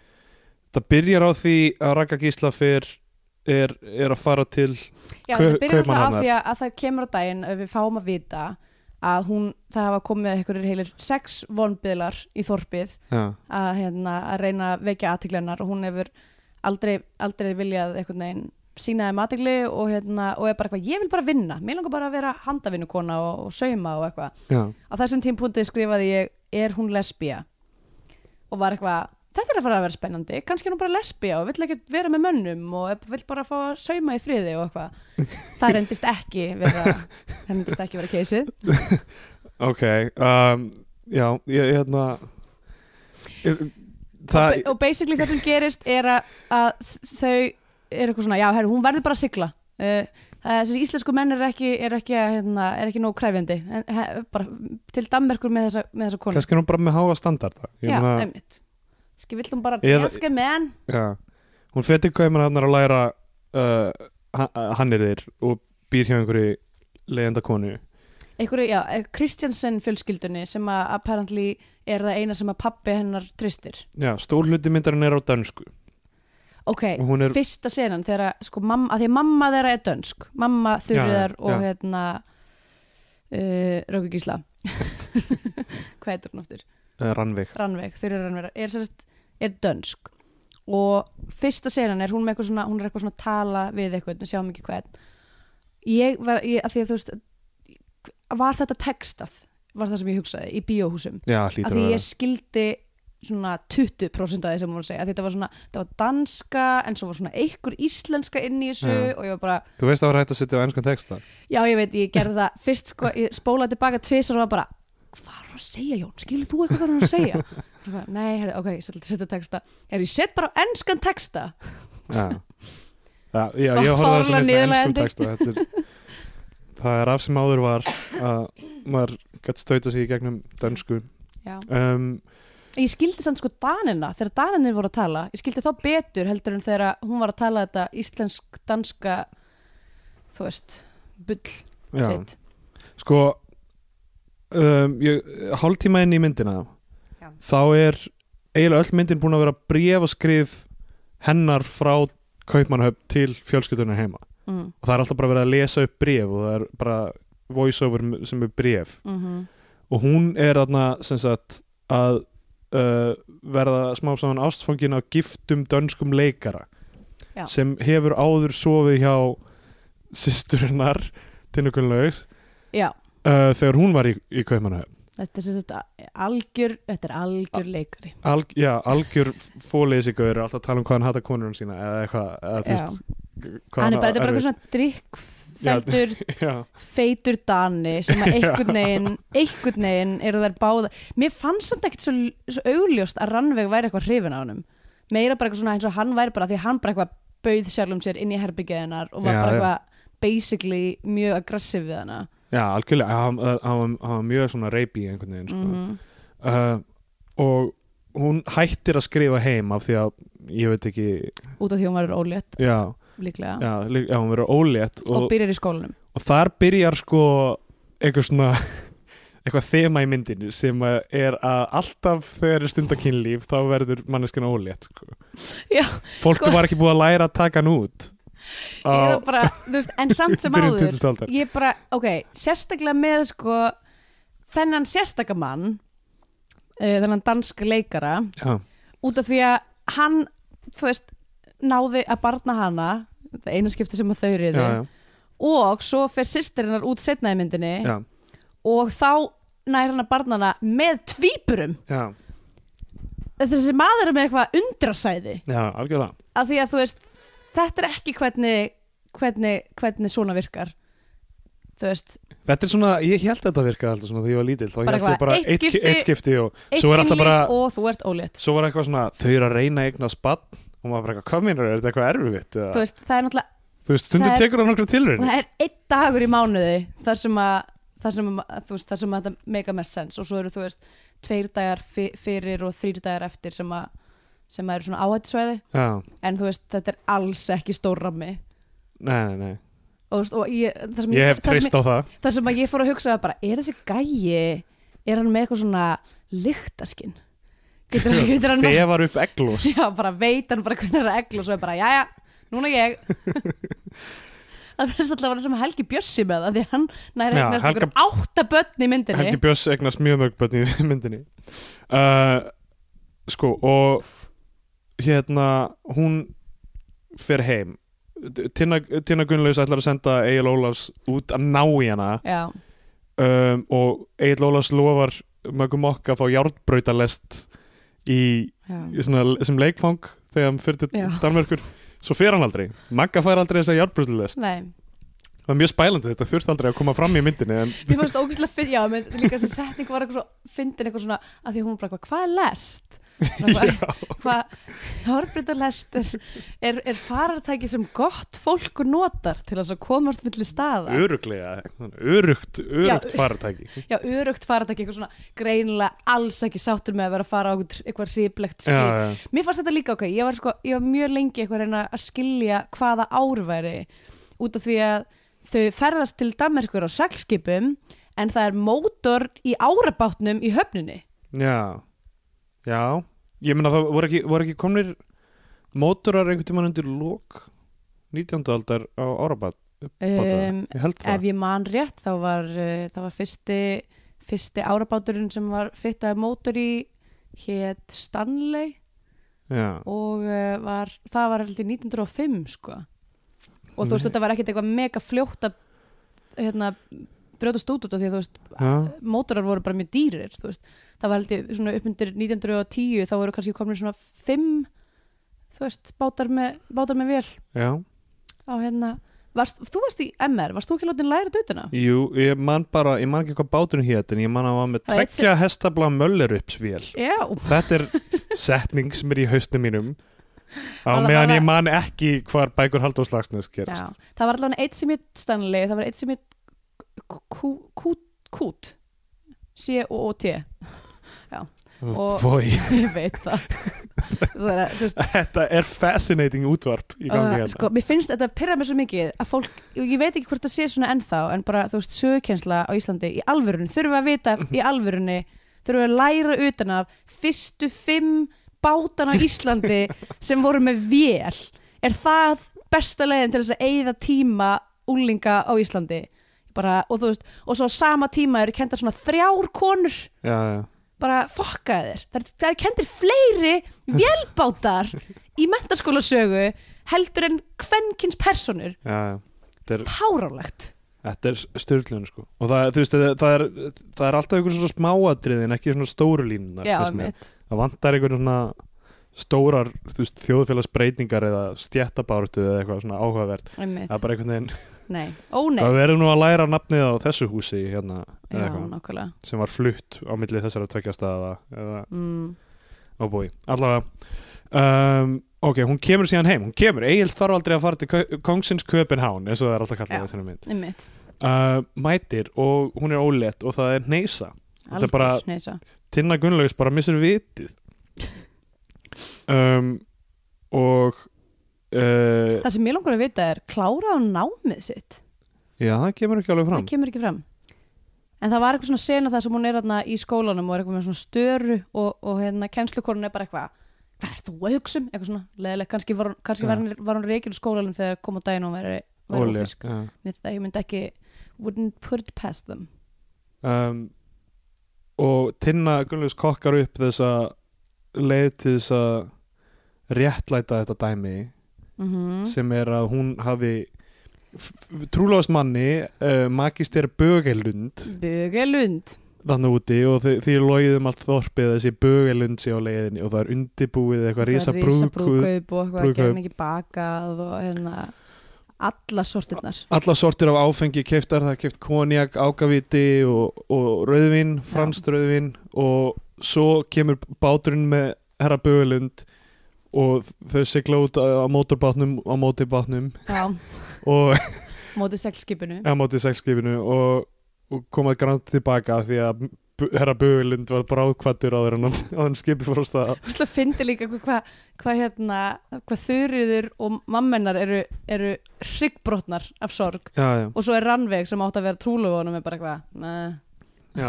S3: Það byrjar á því að Raka Gísla fyrr er, er að fara til
S2: Já,
S3: Kau-
S2: þetta byrjar alltaf af
S3: Kaupmannahafnar.
S2: því að, að það kemur á daginn að við fáum að vita að hún, það hafa komið einhverjir heilir sex vonbiðlar í þorpið
S3: Já,
S2: að, hérna, að reyna að vekja aðtiklennar og hún hefur aldrei, aldrei viljað einhvern veginn sína þeim aðtikli og, hérna, og er bara eitthvað, ég vil bara vinna mér langar bara að vera handavinnukona og, og sauma og eitthvað.
S3: já,
S2: Á þessum tímpúndið skrifaði ég, er hún lesbía? Og var eitthvað, þetta er að fara að vera spennandi kannski er hún bara lesbía og vill ekki vera með mönnum og er- vill bara fá að sauma í friði og eitthvað. Það reyndist ekki vera, það reyndist ekki vera keysið
S3: ok um, Já, ég, hérna ég- Það,
S2: og basically það sem gerist er að, að þau er eitthvað svona, já, herru, hún verður bara að sigla uh, þessi íslensku menn er ekki er ekki, að, hérna, er ekki nóg kræfjandi en, he, bara til Danmerkur með þessa, með þessa konu
S3: kannski er hún bara með háa standarda Ég
S2: já,
S3: meina-
S2: einmitt Ski vill hún bara
S3: Eða-
S2: danske menn
S3: Já, hún fer til kaupin hann að læra uh, hann er þér og býr hjá einhverju leiðenda konu
S2: einhverju, já, Kristjansen fjölskyldunni sem að apparently er það eina sem að pappi hennar tristir
S3: Já, stór hluti myndarinn er á dansku
S2: ok,
S3: Og hún er-
S2: fyrsta senan þegar að, sko, mamma, að því að mamma þeirra er dönsk mamma þurriðar
S3: Já, já.
S2: og hérna uh, Rökugísla hvað heitir hún aftur?
S3: uh, Rannveig
S2: Rannveig, þurriðar Rannveig er, sérst, er dönsk og fyrsta senan er hún með eitthvað svona hún er eitthvað svona að tala við eitthvað við sjáum ekki hvern ég var, ég, að því að þú veist var þetta textað, var það sem ég hugsaði í bíóhúsum
S3: Já,
S2: að
S3: hlýtur
S2: því
S3: að vera
S2: ég skildi svona 20% af því sem hún var að segja að þetta var svona, þetta var danska en svo var svona einhver íslenska inn í þessu
S3: Já.
S2: og ég var bara,
S3: Þú veist að það var hægt að setja á ennskan texta
S2: já ég veit, ég gerði það fyrst sko, ég spólaði tilbaka tvisar og var bara hvað er hún að segja Jón, skilur þú eitthvað hvað hún er að segja Ég bara, nei, herri, ok, ég setja setja texta herri, ég set bara á enskan texta
S3: Já, já, já ég horfði á það sem
S2: Fáránlega
S3: eitthvað ennskum
S2: niðurlægjandi.
S3: texta Þetta er, Það er af sem áður var að maður gætt stauta sig í gegnum dansku
S2: já.
S3: um,
S2: ég skildi samt sko danina, þegar daninir voru að tala ég skildi þá betur heldur en þegar hún var að tala þetta íslensk-danska þú veist, bull
S3: já.
S2: sitt
S3: Sko um, ég, Hálftíma inn í myndina
S2: Já.
S3: Þá er eiginlega öll myndin búin að vera brefaskrif hennar frá Kaupmannhöfn til fjölskyldunar heima
S2: mm.
S3: og það er alltaf bara verið að lesa upp bref og það er bara voiceover sem er bref
S2: Mm
S3: og hún er þarna sem sagt að uh, verða smá saman ástfangin á giftum dönskum leikara
S2: Já.
S3: sem hefur áður sofið hjá systurinnar tinnukunlaugs
S2: Já,
S3: uh, þegar hún var í, í Kaupmannahöfn
S2: þetta er sem sagt algjör, þetta er algjör leikari.
S3: Alg, Ah. já, algjör fóliðsigur er alltaf að tala um hvað hann hata konur hann sína eða eitthvað eða, þú
S2: Já.
S3: veist, hvað
S2: Hann er bara, þetta er bara
S3: erfið-
S2: eitthvað svona drikkfældur,
S3: já,
S2: feitur dani sem að einhvern veginn, einhvern veginn eru þær báðar. Mér fannst samt ekkert svo, svo augljóst að Rannveig væri eitthvað hrifin á honum. Meira bara eitthvað svona eins og hann væri bara því að hann bara eitthvað bauð sjálfum sér inn í herbyggeðinar og var
S3: Já,
S2: bara
S3: já.
S2: eitthvað basically mjög aggressiv við hana.
S3: já, algjörlega hann, hann, hann, var- hann var mjög svona reypi einhvern veginn sko.
S2: Mm
S3: uh, og hún hættir að skrifa heim af því að ég veit ekki
S2: Út af því hún var ólétt
S3: já,
S2: líklega
S3: já, lí- já hún verður ólétt
S2: og,
S3: og,
S2: byrjar í skólanum.
S3: og þar byrjar sko eitthvað svona eitthvað þema í myndinu sem að er að alltaf þegar er stundakynlíf þá verður manneskina ólétt sko.
S2: Já,
S3: fólk
S2: sko.
S3: var ekki búið að læra að taka hann út
S2: Ég er bara, þú veist, en samt sem
S3: byrjun
S2: áður
S3: 20. aldar
S2: ég bara, ok, sérstaklega með sko þennan sérstaka mann uh, þennan danska leikara
S3: já,
S2: út af því að hann, þú veist náði að barna hana það eina skipti sem að þau
S3: já,
S2: reyðu
S3: já,
S2: og svo fer sýstirinnar út setna í myndinni
S3: já,
S2: og þá nær hann að barna hana með tvíburum
S3: já,
S2: þessi maður er með eitthvað undrasæði
S3: já algjörlega
S2: af því að þú veist þetta er ekki hvernig hvernig, hvernig svona virkar þú veist,
S3: Þetta er svona, ég held að þetta virkaði alltaf svona þegar ég var lítill þá ég
S2: Bara
S3: held ég
S2: eitthvað,
S3: bara
S2: eitt
S3: eitt,
S2: skipti-
S3: eitt skipti og
S2: eitt
S3: svo er alltaf
S2: kynlíf
S3: bara,
S2: og þú ert ólétt
S3: svo var eitthvað svona þau eru að reyna að eignast bann og maður bara eitthvað, hvað meinar, er þetta eitthvað erfitt?
S2: þú
S3: eða?
S2: veist, það er náttúrulega
S3: Þú veist, stundum
S2: Það er-
S3: tekur það nokkra
S2: og
S3: tilraun
S2: það er einn dagur í mánuði þar sem að þar sem, að, þú veist, þar sem að þetta make a mess sense og svo eru þú veist tveir dagar fi- fyrir og þrýr dagar eftir sem að sem að eru svona áhættisvæði
S3: Já,
S2: en þú veist þetta er alls ekki stórrammi
S3: nei, nei, nei
S2: og, þú veist, og ég, það, sem
S3: Ég hef
S2: það, sem
S3: treyst á það
S2: það sem að ég fór að hugsa var bara, er þessi gæi er hann með eitthvað svona lyktaskinn getur, hann- getur hann
S3: Þefar upp eglós
S2: já, bara veit hann bara hvernig er að eglu og svo er bara, jæja, núna ég það finnst alltaf að vera sem Helgi Bjössi með það því að hann næri
S3: Já,
S2: eignast
S3: Helga-
S2: okkur átta börn í myndinni
S3: Helgi Björns egnast mjög mörg börn í myndinni uh, Sko, og hérna, hún fer heim Tina, Tina Gunnlaus ætlar að senda Egil Ólafs út að ná í hana
S2: já,
S3: um, og Egil Ólafs lofar mögum okk að fá járnbrautalest í,
S2: já,
S3: í svona, sem leikfang þegar hann fyrir til
S2: Já.
S3: Danmörkur svo fer hann aldrei, Magga fær aldrei þess að járnbrautalest
S2: nei
S3: það er mjög spælandi þetta þurft aldrei að koma fram í myndinni en
S2: Mér fannst ógæslega fyndin, já, menn líka þessi setning var eitthvað svo, fyndin eitthvað svona að því að hún var bara, eitthvað, hvað er lest? Svona Hvað, hvað, hörbreytarlest er, er, er farartæki sem gott fólk notar til þess að komast milli staða?
S3: öruglega, örugt, örugt
S2: Já.
S3: farartæki
S2: Já, örugt farartæki, eitthvað svona greinilega alls ekki sáttur með að vera að fara á eitthvað, eitthvað hriplegt skip.
S3: já, já.
S2: Mér fannst þetta líka ok, ég var, sko, ég var mjög lengi eitthvað að reyna að skilja hvaða ár væri út af því að þau ferðast til Danmerkur á seglskipum en það er mótor í árabátnum í höfninni.
S3: Já, já Ég meina það voru ekki, voru ekki komnir mótorar einhvern tímann undir lók 19. aldar á árabat
S2: Um,
S3: Ég held það
S2: ef ég man rétt þá var, uh, það var fyrsti, fyrsti árabáturinn sem var fyttaði mótor í hétt Stanley
S3: Já,
S2: og uh, var, það var heldur 1905 sko og þú veist
S3: Nei.
S2: þetta var ekkert eitthvað mega fljótt að hérna, brjótast út út af því að þú veist
S3: já,
S2: mótorar voru bara mjög dýrir þú veist. það var heldur svona upp undir 1910 þá voru kannski komin svona fimm þú veist, bátar með, bátar með vel
S3: já
S2: á hérna varst, þú varst í MR, varst þú ekki látin læra dautina?
S3: Jú, ég man bara, ég man ekki hvað báturinn hétt en ég man að hann var með
S2: Það er eitt
S3: tveggja hestabla möllerupsvél
S2: Já,
S3: Þetta er setning sem er í haustum mínum á
S2: Var það
S3: meðan
S2: bara-
S3: ég man ekki hvar bækur Halldórs Lagsnes
S2: já,
S3: gerist
S2: það var allavega eitt sem ég stanlið, það var eitt sem ég kút, kút C-O-O-T Og-
S3: Vói,
S2: ég veit það það er að, þú veist
S3: þetta er fascinating útvarp í gangi
S2: Uh,
S3: hérna
S2: sko, mér finnst þetta pyrra mér svo mikið að fólk, ég veit ekki hvort það sé svona ennþá en bara, þú veist, sögukensla á Íslandi í alvörunni, þurfa að vita í alvörunni þurfa að læra utan af fyrstu fimm bátana á Íslandi sem voru með vél er það besta leiðin til þess að eigða tíma úlinga á Íslandi bara, og þú veist, og svo á sama tíma eru kendar svona þrjár konur
S3: Já, já
S2: bara fokkaði þér það, er- það er kendir fleiri vélbátar í mentaskólasögu heldur en kvenkins personur
S3: Já, já. Þetta er,
S2: párálegt
S3: þetta er styrlun sko. og það, þú veist, það, það, er, það er alltaf einhver svona smáatriði en ekki svona stóru línunar
S2: já,
S3: finnst mér.
S2: mitt
S3: það vantar einhvern svona stórar þú veist, þjóðfélagsbreytingar eða stjættabártu eða eitthvað svona áhugavert
S2: Einmitt.
S3: það er bara einhvern veginn,
S2: Nei, ó nei,
S3: það verður nú að læra nafnið á þessu húsi hérna
S2: já,
S3: eða eitthvað,
S2: nákvæmlega
S3: sem var flutt á milli þessara tvekja staða eða
S2: mm.
S3: á búi, allavega um, ok, hún kemur síðan heim, hún kemur Egil þarf aldrei að fara til Kau- Kongsins Köpenhán eins og það er alltaf kallað
S2: Já.
S3: í þessari mynd
S2: Einmitt,
S3: uh, mætir og hún er ólétt og það er neysa Þetta er
S2: algjör
S3: bara-
S2: hneisa.
S3: Tinna Gunnlaugs bara missir vitið um, og uh,
S2: Það sem mér langar að vita er klára á námið sitt
S3: já, það kemur ekki alveg
S2: það
S3: fram
S2: kemur ekki fram En það var eitthvað svona sena það sem hún er þarna í skólanum og er eitthvað með svona störu og, og hérna kennslukorun er bara eitthvað Hvað er þú að hugsa um? Eitthvað svona leðileg, kannski var, hún- kannski
S3: Já.
S2: var, hún- var hún reikin úr skólanum þegar kom á daginn og hún væri, væri
S3: Ólétt,
S2: ófrísk.
S3: já.
S2: Mér það, ég myndi ekki, wouldn't put it past them.
S3: um, og Tinna Gunnlaugs kokkar upp þessa leið til þess að réttlæta þetta dæmi
S2: Mm
S3: sem er að hún hafi trúlóðast manni uh, makist er bögelund
S2: Bugelund.
S3: þannig úti og þi- því logið um allt þorpið að þessi bögelund sé á leiðinni og það er undibúið eitthvað rísa brúkuð
S2: brúðkaup og eitthvað,
S3: brúðkaup.
S2: gerð mikið bakað og hérna, alla sortirnar.
S3: alla sortir af áfengi keiftar, það er keift konjak, ágaviti og, og rauðvin, franskt rauðvin og svo kemur báturinn með herra bögelund og þau sigla út á á mótorbátnum á mótibátnum
S2: Já,
S3: og
S2: mótið seglskipinu
S3: á móti seglskipinu og, og komað grann tilbaka því að Bu- herra Böglind var bráðkvattur á þeirra á hann skipi fór á staða
S2: Úrslega fyndi líka hvað hva, hva, hérna, hva þurriður og mammenar eru, eru hryggbrotnar af sorg
S3: já, já,
S2: og svo er Rannveig sem átt að vera trúlugunum er bara eitthvað "Meh."
S3: já,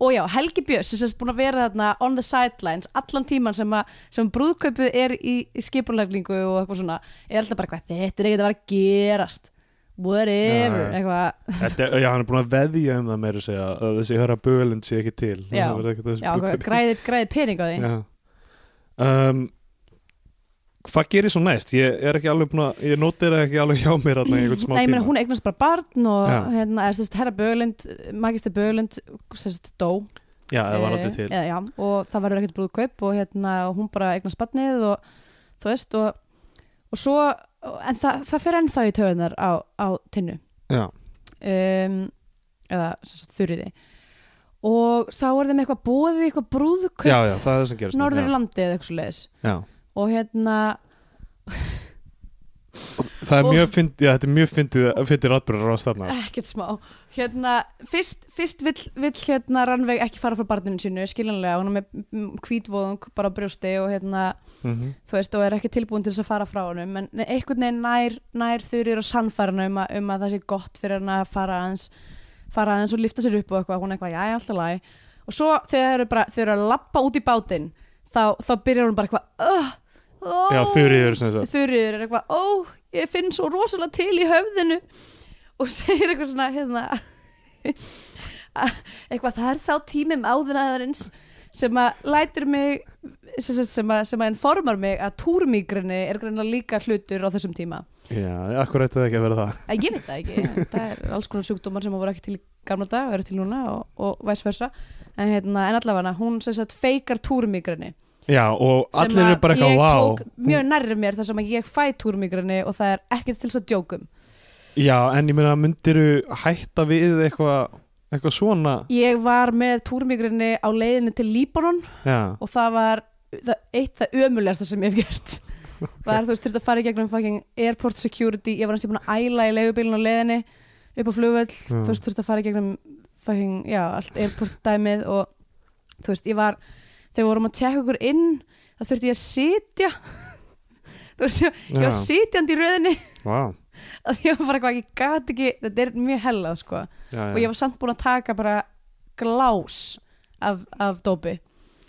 S2: og já, Helgi Björns sem er búin að vera þarna on the sidelines allan tíman sem, að, sem brúðkaupið er í, í skipunlegningu og eitthvað svona er alltaf bara eitthvað, þetta er ekkert að vera að gerast whatever,
S3: Já, já.
S2: eitthvað
S3: Þetta, já hann er búin að veðja um það meira að segja að þessi herra Böglind sé ekki til
S2: Já.
S3: Það verður ekkert að þessu
S2: já, eitthvað,
S3: brúðkaupi.
S2: græði, græði pening á því
S3: Já. um, Hvað gerir svo næst? Ég er ekki alveg búin að ég nótir ekki alveg hjá mér þarna í einhvern smá
S2: Nei, ég meina,
S3: tíma
S2: hún eignast bara barn og
S3: Já.
S2: hérna, eða, sérst, herra Böglind, magister Böglind sérst, dó
S3: Já, það var aldrei til
S2: Eh, já, og það verður ekkert brúðkaup og hérna, og hún bara eignast barnið og þú veist og, og svo, en það, það fer ennþá í töðunar á, á tinnu
S3: Já,
S2: um, eða sem sagt, þurriði og þá er þeim eitthvað bóðið í eitthvað brúðkaup
S3: já, já, það er það sem gerist þarna,
S2: norður í landi eða eitthvað svo leiðis
S3: já. Já.
S2: og hérna,
S3: Það er
S2: Og-
S3: mjög fyndið, já, þetta er mjög fyndið fyndið ráttbjörður á stanna
S2: ekkert smá hérna, fyrst, fyrst vill, vill hérna Rannveig ekki fara frá barninu sínu skiljanlega, hún er með kvítvóðung bara á brjósti og hérna
S3: mm -hmm.
S2: þú veist, og er ekki tilbúin til þess að fara frá honum en einhvern veginn nær, nær þurrir og sannfærna um, að- um að það sé gott fyrir hann að fara aðeins fara aðeins og lifta sér upp og eitthvað, hún er eitthvað, já, alltaf læg og svo þegar þau eru bara, þau eru að lappa út í bátinn þá, þá byrjar hún bara eitthvað uh, oh,
S3: Já, þurriður sem sagt
S2: Þuríður er eitthvað, ó, ég finn svo rosalega til í höfðinu og segir eitthvað svona, hérna eitthvað, það er sá tímum áðunaðarins sem að lætur mig sem, sem, sem, að, sem að informar mig að túrmígrinni er greina líka hlutur á þessum tíma
S3: Já, akkur ætti það ekki að vera það
S2: að ég veit það ekki, það er alls konar sjúkdómar sem að voru ekki til í gamla dag og eru til núna og, og vice versa en, hérna, en allavega hún sem sagt feikar túrmígrinni
S3: Já, og
S2: sem
S3: allir
S2: að
S3: eru bara eitthvað,
S2: ég
S3: vá
S2: tók mjög nærri mér þar sem að ég fæ túrmígrinni og það er ekkert til þess að um. djókum
S3: Já, en ég meina, myndiru hætta við eitthvað eitthvað svona
S2: ég var með túrmígrinni á leiðinni til Líbanon
S3: Já,
S2: og það var það, eitt það ömulegasta sem ég hef gert var þú veist, þurfti að fara í gegnum fucking airport security, ég var næstu búin að æla í leigubílun á leiðinni upp á flugvöll
S3: Mm.
S2: þú veist, þurfti að fara í gegnum fucking, já, allt airport dæmið og þú veist, ég var þegar við vorum að tjekka okkur inn þá þurfti ég að sitja þú veist, ég, ég var
S3: já,
S2: sitjandi í röðinni
S3: vá
S2: að ég var bara eitthvað, ég gat ekki þetta er mjög hellað, sko
S3: já, já.
S2: og ég var samt búin að taka bara glás af, af dópi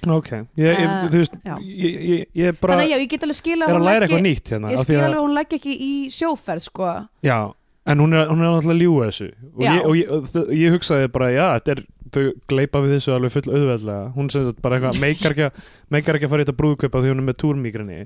S3: Ok, ég, ég,
S2: Eh,
S3: þú veist,
S2: já.
S3: ég, ég, ég er bara
S2: þannig að já, ég get alveg skila
S3: er að læra eitthvað nýtt hérna
S2: ég
S3: af því
S2: skil
S3: að-
S2: alveg að hún leggja ekki í sjóferð sko.
S3: Já, en hún er, hún er náttúrulega að ljúga þessu og,
S2: Já.
S3: ég, og ég, og þ- ég hugsaði bara, já, þetta er þau gleipa við þessu alveg full auðveldlega hún sem sagt bara eitthvað, meikar ekki, að- meikar ekki að fara í þetta brúðkaupa því hún er með túrmígrinni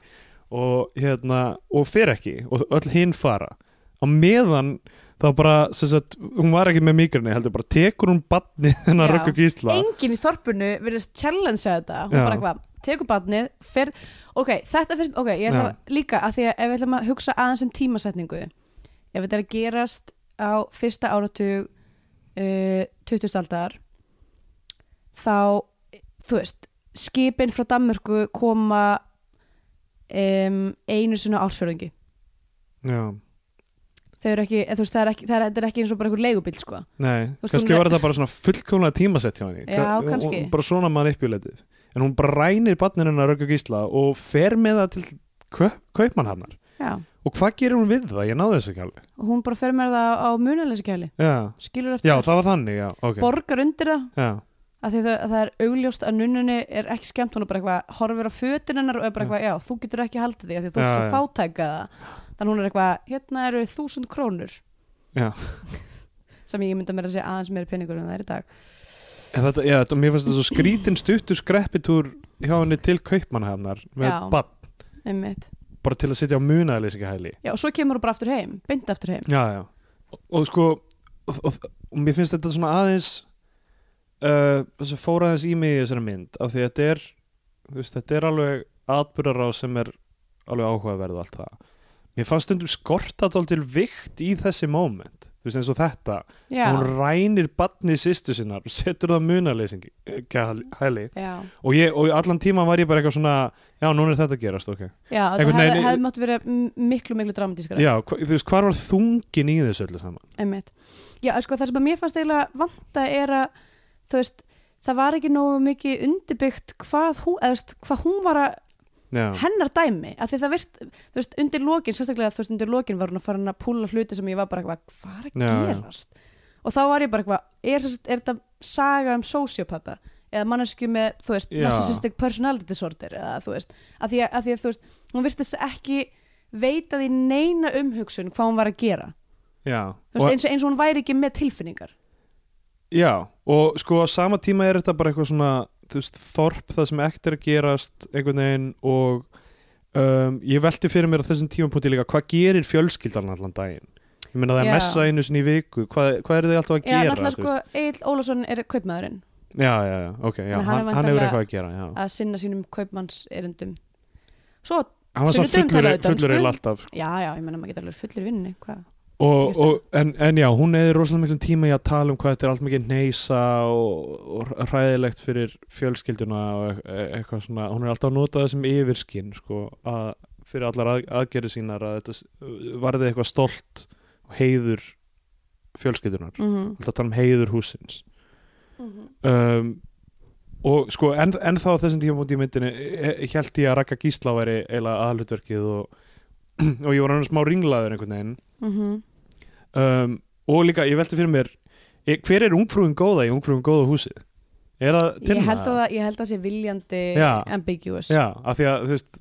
S3: og hérna, og fer ekki og öll hinn fara á meðan þá bara, sem sagt, hún var ekki með mígrinni heldur bara, tekur hún badni þennan
S2: Já.
S3: röggu gísla
S2: enginn í þorpinu verðist challenge þetta hún
S3: Já.
S2: bara eitthvað, tekur barnið fer... ok, þetta fyrir, ok, ég ætla
S3: Já.
S2: líka að því að ef við ætlum að hugsa aðeins um tímasetningu ef þetta er að gerast á fyrsta áratug uh, 20. aldar þá þú veist, skipin frá Danmörku koma um, einu sinna ársfjörðingi
S3: Já,
S2: þau eru ekki, eða þú veist, það er ekki, það er, þetta er ekki eins og bara einhver leigubíl sko
S3: nei,
S2: Þú veist,
S3: kannski
S2: hún er-
S3: var þetta bara svona fullkomlega tímasett hjá henni
S2: Já,
S3: Ka- og-
S2: kannski.
S3: og bara svona manipulatið en hún bara rænir badninu hennar röggu gísla og fer með það til kaup, kaupmannhafnar
S2: já
S3: Og hvað gerir hún við það? Ég náði þess ekki alveg.
S2: og hún bara fer með það á munalesskjæli
S3: Já,
S2: skilur eftir
S3: já
S2: það,
S3: það var þannig, já, ok.
S2: borgar undir það
S3: Já,
S2: af því það, það er augljóst að nunnunni er ekki skemmt hún er bara eitthvað, horfir á fötin hennar og er bara eitthvað, já, þú getur ekki haldið því af því að þú
S3: Já,
S2: ert svo
S3: já.
S2: fátæka það þannig hún er eitthvað, hérna eru þúsund krónur
S3: Já.
S2: sem ég mynda mér að segja aðeins meiri peningur en það er í dag
S3: en þetta, já, þetta, mér finnst þetta svo skrítin stuttur skreppitúr hjá henni til kaupmannhafnar með
S2: Já.
S3: bann,
S2: einmitt,
S3: bara til að sitja á munaðlýsingahæli.
S2: já, og svo kemur hún bara aftur heim beint aftur heim,
S3: Já, já. Og, og sko, og, og, og mér finnst þetta svona aðeins, uh, þess að fóra aðeins í mig í þessari mynd, af því að þetta er, þú veist, þetta er alveg atbyrðará sem er alveg áhugaverð og allt það. Mér fannst stundum skorta alltaf til vikt í þessi moment. Þú þú veist eins og þetta
S2: já,
S3: hún rænir badni sýstu sinnar og setur það munaleysingi hæli
S2: já,
S3: og, ég, og allan tíman var ég bara eitthvað svona já, núna er þetta að gerast, ok
S2: já það
S3: Einhvern
S2: hefði
S3: veginn-
S2: hef mátt verið m- miklu, miklu dramatískara
S3: já, hva, þú veist, hvar var þungin í þessu öllu saman
S2: Einmitt. Já, sko, það sem að mér fannst eiginlega vanta er að þú veist, það var ekki nógu mikið undirbyggt hvað hún, eða, þú veist, hvað hún var að
S3: já,
S2: hennar dæmi, af því það virt þú veist, undir lokin, sérstaklega þú veist, undir lokin var hún að fara hann að púla hluti sem ég var bara eitthvað hvað er að
S3: Já, já.
S2: gerast? Og þá var ég bara eitthvað, er, sem sagt- er þetta saga um sociopata? Eða mannesku með, þú veist,
S3: Já.
S2: narcissistic personality disorder eða þú veist, af því að, að, því að þú veist, hún virtist ekki veitað í neina umhugsun hvað hún var að gera
S3: já
S2: Þú veist, eins, og- eins og hún væri ekki með tilfinningar
S3: Já, og sko á sama tíma er þetta bara eitthvað svona þú veist, þorp það sem ekkert er að gerast einhvern veginn og um, ég velti fyrir mér á þessum tímapunkti líka hvað gerir fjölskyldan allan daginn ég meina það er
S2: Já.
S3: messa einu sinni í viku hvað, hvað er þið alltaf að
S2: Já,
S3: gera
S2: náttúrulega
S3: þú
S2: sko,
S3: veist?
S2: Egil Ólafsson er kaupmaðurinn
S3: já, já, já, ok, já,
S2: Þannig hann er
S3: hann, hann, hefur
S2: væntanlega-
S3: eitthvað að gera já.
S2: að sinna sínum kaupmannserindum Svo,
S3: hann var samt
S2: sunnudögum
S3: fullur,
S2: talaði dönsku.
S3: fullur eða alltaf sko.
S2: já, já, ég menna maður geta alveg fullir í vinnunni Hvað?
S3: og,
S2: Ég
S3: og, en, en já, hún eða rosalega miklum tíma í að tala um hvað þetta er allt mikið neysa og, og hræðilegt fyrir fjölskylduna og e- e- eitthvað svona, hún er alltaf að nota þessum yfirskinn sko, að, fyrir allar að, aðgerði sínar að þetta s- varði eitthvað stolt og heiður fjölskyldunar
S2: Mm -hmm.
S3: alltaf að tala um heiður húsins um, og sko en, en þá á þessum tíma í myndinni held ég að Raka Gísla væri eiginlega aðhlutverkið og, og ég var annars smá ringlaður einhvern veginn
S2: Mhm.
S3: um, og líka ég velti fyrir mér e- hver er ungfrúin góða í ungfrúin góða húsi er það
S2: ég,
S3: tilna?
S2: held að, það- ég held að það sé viljandi
S3: Já.
S2: ambiguous
S3: já, af því að þú veist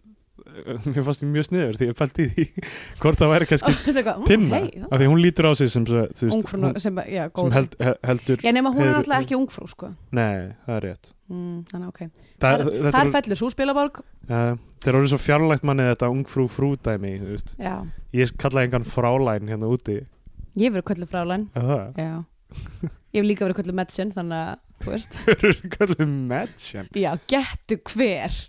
S3: mér fannst ég mjög sniður því ég pælti í því hvort það væri
S2: og
S3: kannski
S2: þetta er eitthvað, mm,
S3: tilna
S2: hei, já,
S3: af því hún lítur á sig sem, svo- þú veist,
S2: ungfrú
S3: hún,
S2: sem, já, góð
S3: sem held, he- heldur
S2: Já, nema hún er
S3: Heiður-
S2: náttúrulega ekki ungfrú, sko
S3: nei, það er rétt
S2: mm, Þannig, ok
S3: það,
S2: Þar-
S3: þetta
S2: Þar
S3: er,
S2: fellur svo spilaborg
S3: uh, það er orðið svo fjarlægt manni þetta ungfrú frúdæmi þú veist.
S2: Já,
S3: ég kallaði engan frálæn hérna úti
S2: ég verið kvöldu frálæn
S3: Er það
S2: Já Ég hef líka verið kvöldu medsin, þannig að, þú veist
S3: eru kallið matchen
S2: Já, gettu hver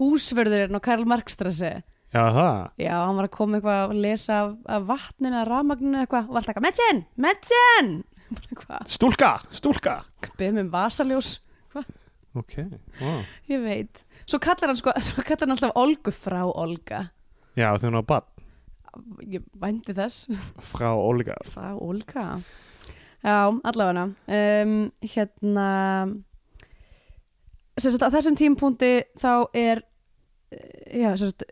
S2: Húsverðurinn á Karl Markstrassi
S3: já, það
S2: Já, hann var að koma eitthvað að lesa af, af vatninu eða rafmagninu eða eitthvað og var alltaf eitthvað, Medsinn, Medsinn Bara eitthvað,
S3: stúlka, stúlka
S2: beðum um vasaljós
S3: ok, wow
S2: Ég veit Svo kallar hann sko, svo kallar hann alltaf Olgu frá Olga
S3: Já, því hún á bann
S2: Ég vændi þess
S3: frá Olga
S2: Frá Olga Já, allavega um, Hérna sem sagt, á þessum tímpúndi þá er eh, já, sem sagt,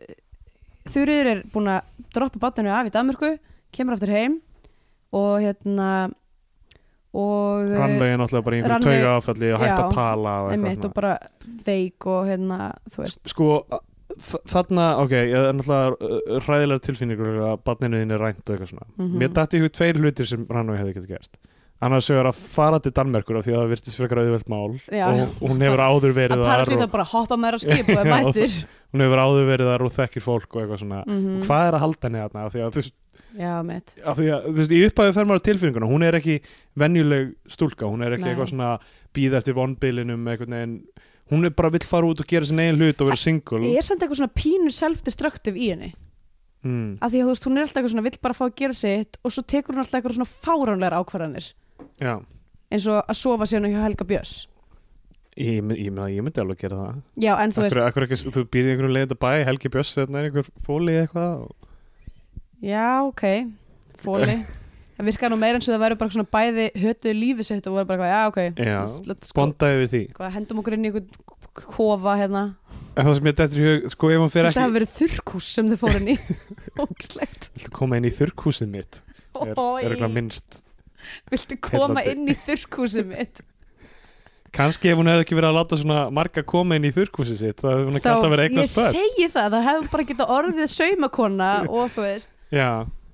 S2: Þurriður er búin að droppa bátinu af í Danmörku kemur aftur heim og hérna og eh,
S3: Rannveig er náttúrulega bara í einhverju
S2: Rannveig-
S3: tauga áfalli og hægt
S2: Já,
S3: að tala og
S2: einmitt og
S3: eitthvað
S2: bara veik og hérna þú veist,
S3: svona Sko, þ- þarna, ok, ég er náttúrulega uh, ræðilegar tilfinningur að banninu þín er rænt og eitthvað svona
S2: Mhm.
S3: Mér dætti í hug tveir hlutir sem Rannveig hefði getið gert Annars vegar að fara til Danmerkur af því að það virtist frekar auðvelt mál
S2: Já.
S3: og hún hefur áður
S2: að
S3: verið þar
S2: parlið
S3: og,
S2: það bara hoppa maður á skip og er
S3: Já,
S2: mættir
S3: hún hefur áður verið þar og þekkir fólk og eitthvað svona
S2: mm -hmm.
S3: Hvað er að halda henni þarna af því að þú veist
S2: Já, mitt
S3: af því að, þú veist, í upphæðu fer maður á tilfinninguna hún er ekki venjuleg stúlka hún er ekki
S2: Nei.
S3: eitthvað svona býð eftir vonbilinum einhvern veginn, hún er bara vill fara út og gera sin eigin hlut og vera single
S2: Ég er samt eitthvað svona pínu self-destructive í henni
S3: mm,
S2: að því að þú veist, hún er alltaf eitthvað svona vill bara fá að gera sitt og svo tekur hún alltaf eitthvað svona fáránlegar ákvarðanir
S3: já,
S2: eins og að sofa síðan hjá Helga Björns
S3: ég, ég, ég, meina, ég myndi alveg að gera það
S2: já, en þú
S3: þú,
S2: veist,
S3: akkur, akkur ekki, þú býði einhvern leiðin að bæ Helgi Björs, þetta er einhver fóli eitthvað
S2: Sko-
S3: og...
S2: já, ok fóli, það virkaði nú meira eins og það væri bara svona bæði hötuðu lífi sitt og voru bara, eitthvað, já, ok,
S3: Já,
S2: let's- let's go
S3: bonda yfir því
S2: Hvað, hendum okkur inn í einhvern kofa hérna
S3: en það sem ég dættur í hug, sko ef hún fer
S2: þetta
S3: ekki
S2: hafi verið þurrkús sem þau fóru inn í ógslegt
S3: viltu koma inn í þurrkúsin mitt er, er eitthvað minnst
S2: viltu koma
S3: Heillandi.
S2: inn í þurrkúsið mitt
S3: kannski ef hún hefði ekki verið að láta svona marga koma inn í þurrkúsin sitt þá hefði hún ekki alltaf verið að
S2: ég
S3: eignast börn
S2: segi það, það hefur bara getað orðið saumakona og þú veist
S3: Já,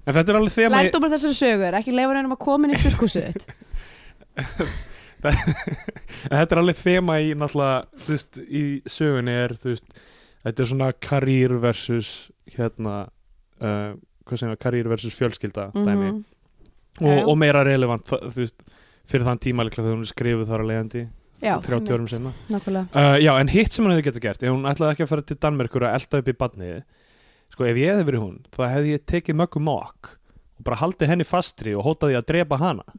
S3: en þetta er alveg þema í-
S2: Lærdómar þessari sögur, ekki leifur hennum að koma inn í þurrkúsið þitt
S3: en þetta er alveg þema í náttúrulega, þú veist, í sögunni er, þú veist, þetta er svona karýr versus hérna uh, hvað segja, karýr versus fjölskylda dæmi
S2: Mhm. Já, já.
S3: og, og meira relevant, það, þú veist fyrir þann tíma líklega þegar hún er skrifuð þar að leiðandi
S2: Já,
S3: 30 árum sinna
S2: Nákvæmlega
S3: uh, Já, en hitt sem hún hefði getur gert ef hún ætlaði ekki að fara til Danmerkur að elda upp í badniði sko, ef ég hefði verið hún, þá hefði ég tekið möggu mokk og bara haldi henni fastri og hótaði að drepa hana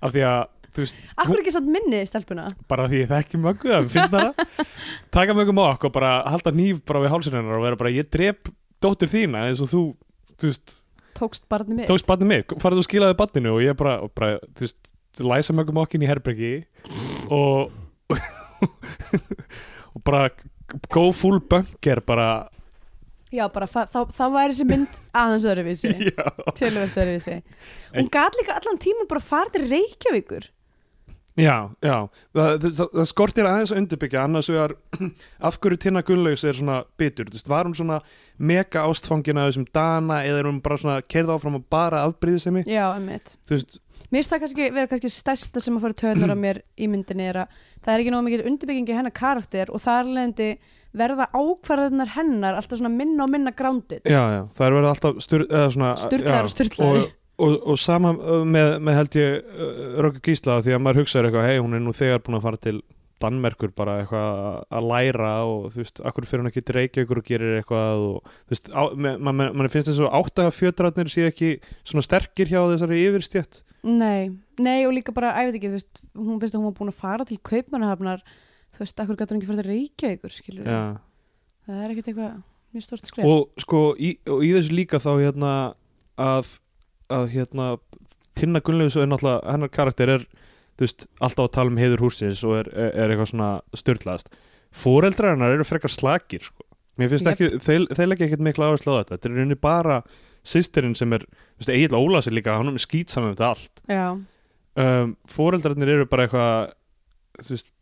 S3: af því að þú veist,
S2: Akkur ekki satt minni stelpuna
S3: bara því ég þekki möggu að finna það, taka möggu mokk og bara halda nýf bara við hálsinn hennar og vera bara ég drep dóttur þína eins og þú, þú veist,
S2: Tókst barnið mitt
S3: tókst barnið mig, farið og skilaði barninu og ég bara, og bara þú veist, læsa mjög mokkin í herbergi og og bara go full bunker bara
S2: Já, bara fa- þá, þá væri þessi mynd aðeins öðruvísi
S3: já,
S2: Tölvöld öðruvísi Hún gat líka allan tíma bara farið til Reykjavíkur
S3: já, já. Það, það, það, það skortir aðeins að undirbyggja annars vegar af hverju Tinna Gunnlaugs er svona bitur, þú veist, var hún svona mega ástfangin af þessum dana eða er hún bara svona kerða áfram og bara afbríðisemi
S2: Já, emmitt
S3: þú veist,
S2: Mér finnst það kannski vera kannski stærsta sem að fara töður á mér í myndinni er að það er ekki nóg mikið undirbyggingi hennar karakter og þar leðandi verða ákvarðarnar hennar alltaf svona minna og minna grándið
S3: já, já, það er verið alltaf styr, svona,
S2: Sturlaðar
S3: já,
S2: og sturlaðar.
S3: og, og, og sama uh, með, með held ég uh, Röggu Gísla því að maður hugsaður eitthvað hei, hún er nú þegar búin að fara til Danmerkur bara eitthvað að læra og þú veist, akkur fyrir hún ekki til Reykjavíkur og gerir eitthvað og þú veist, á- me- ma- ma- mann finnst þess að áttaga fjötratnir sé ekki svona sterkir hjá þessari yfirstjætt
S2: Nei, nei og líka bara, æ, ég veit ekki, þú veist hún finnst að hún var búin að fara til kaupmannahafnar þú veist, akkur gætur hún ekki fara til Reykjavíkur skilur
S3: já
S2: það er ekkert eitthvað mjög stort skref
S3: og sko í, og í þessu líka þá hérna að, að hérna Tinna Gunnlaugs er náttúrulega hennar karakter er þú veist, alltaf að tala um heiður húsins og er, er, er eitthvað svona styrlaðast foreldrar hennar eru frekar slakir sko. mér finnst
S2: Jep.
S3: ekki, þeir, þeir leggja ekkert mikla áherslu á þetta þetta er í rauninni bara sýstirinn sem er, þú veist, Egil Ólafs er líka hann er skýtsam um þetta allt
S2: Já,
S3: um, foreldrarnir eru bara eitthvað þú veist,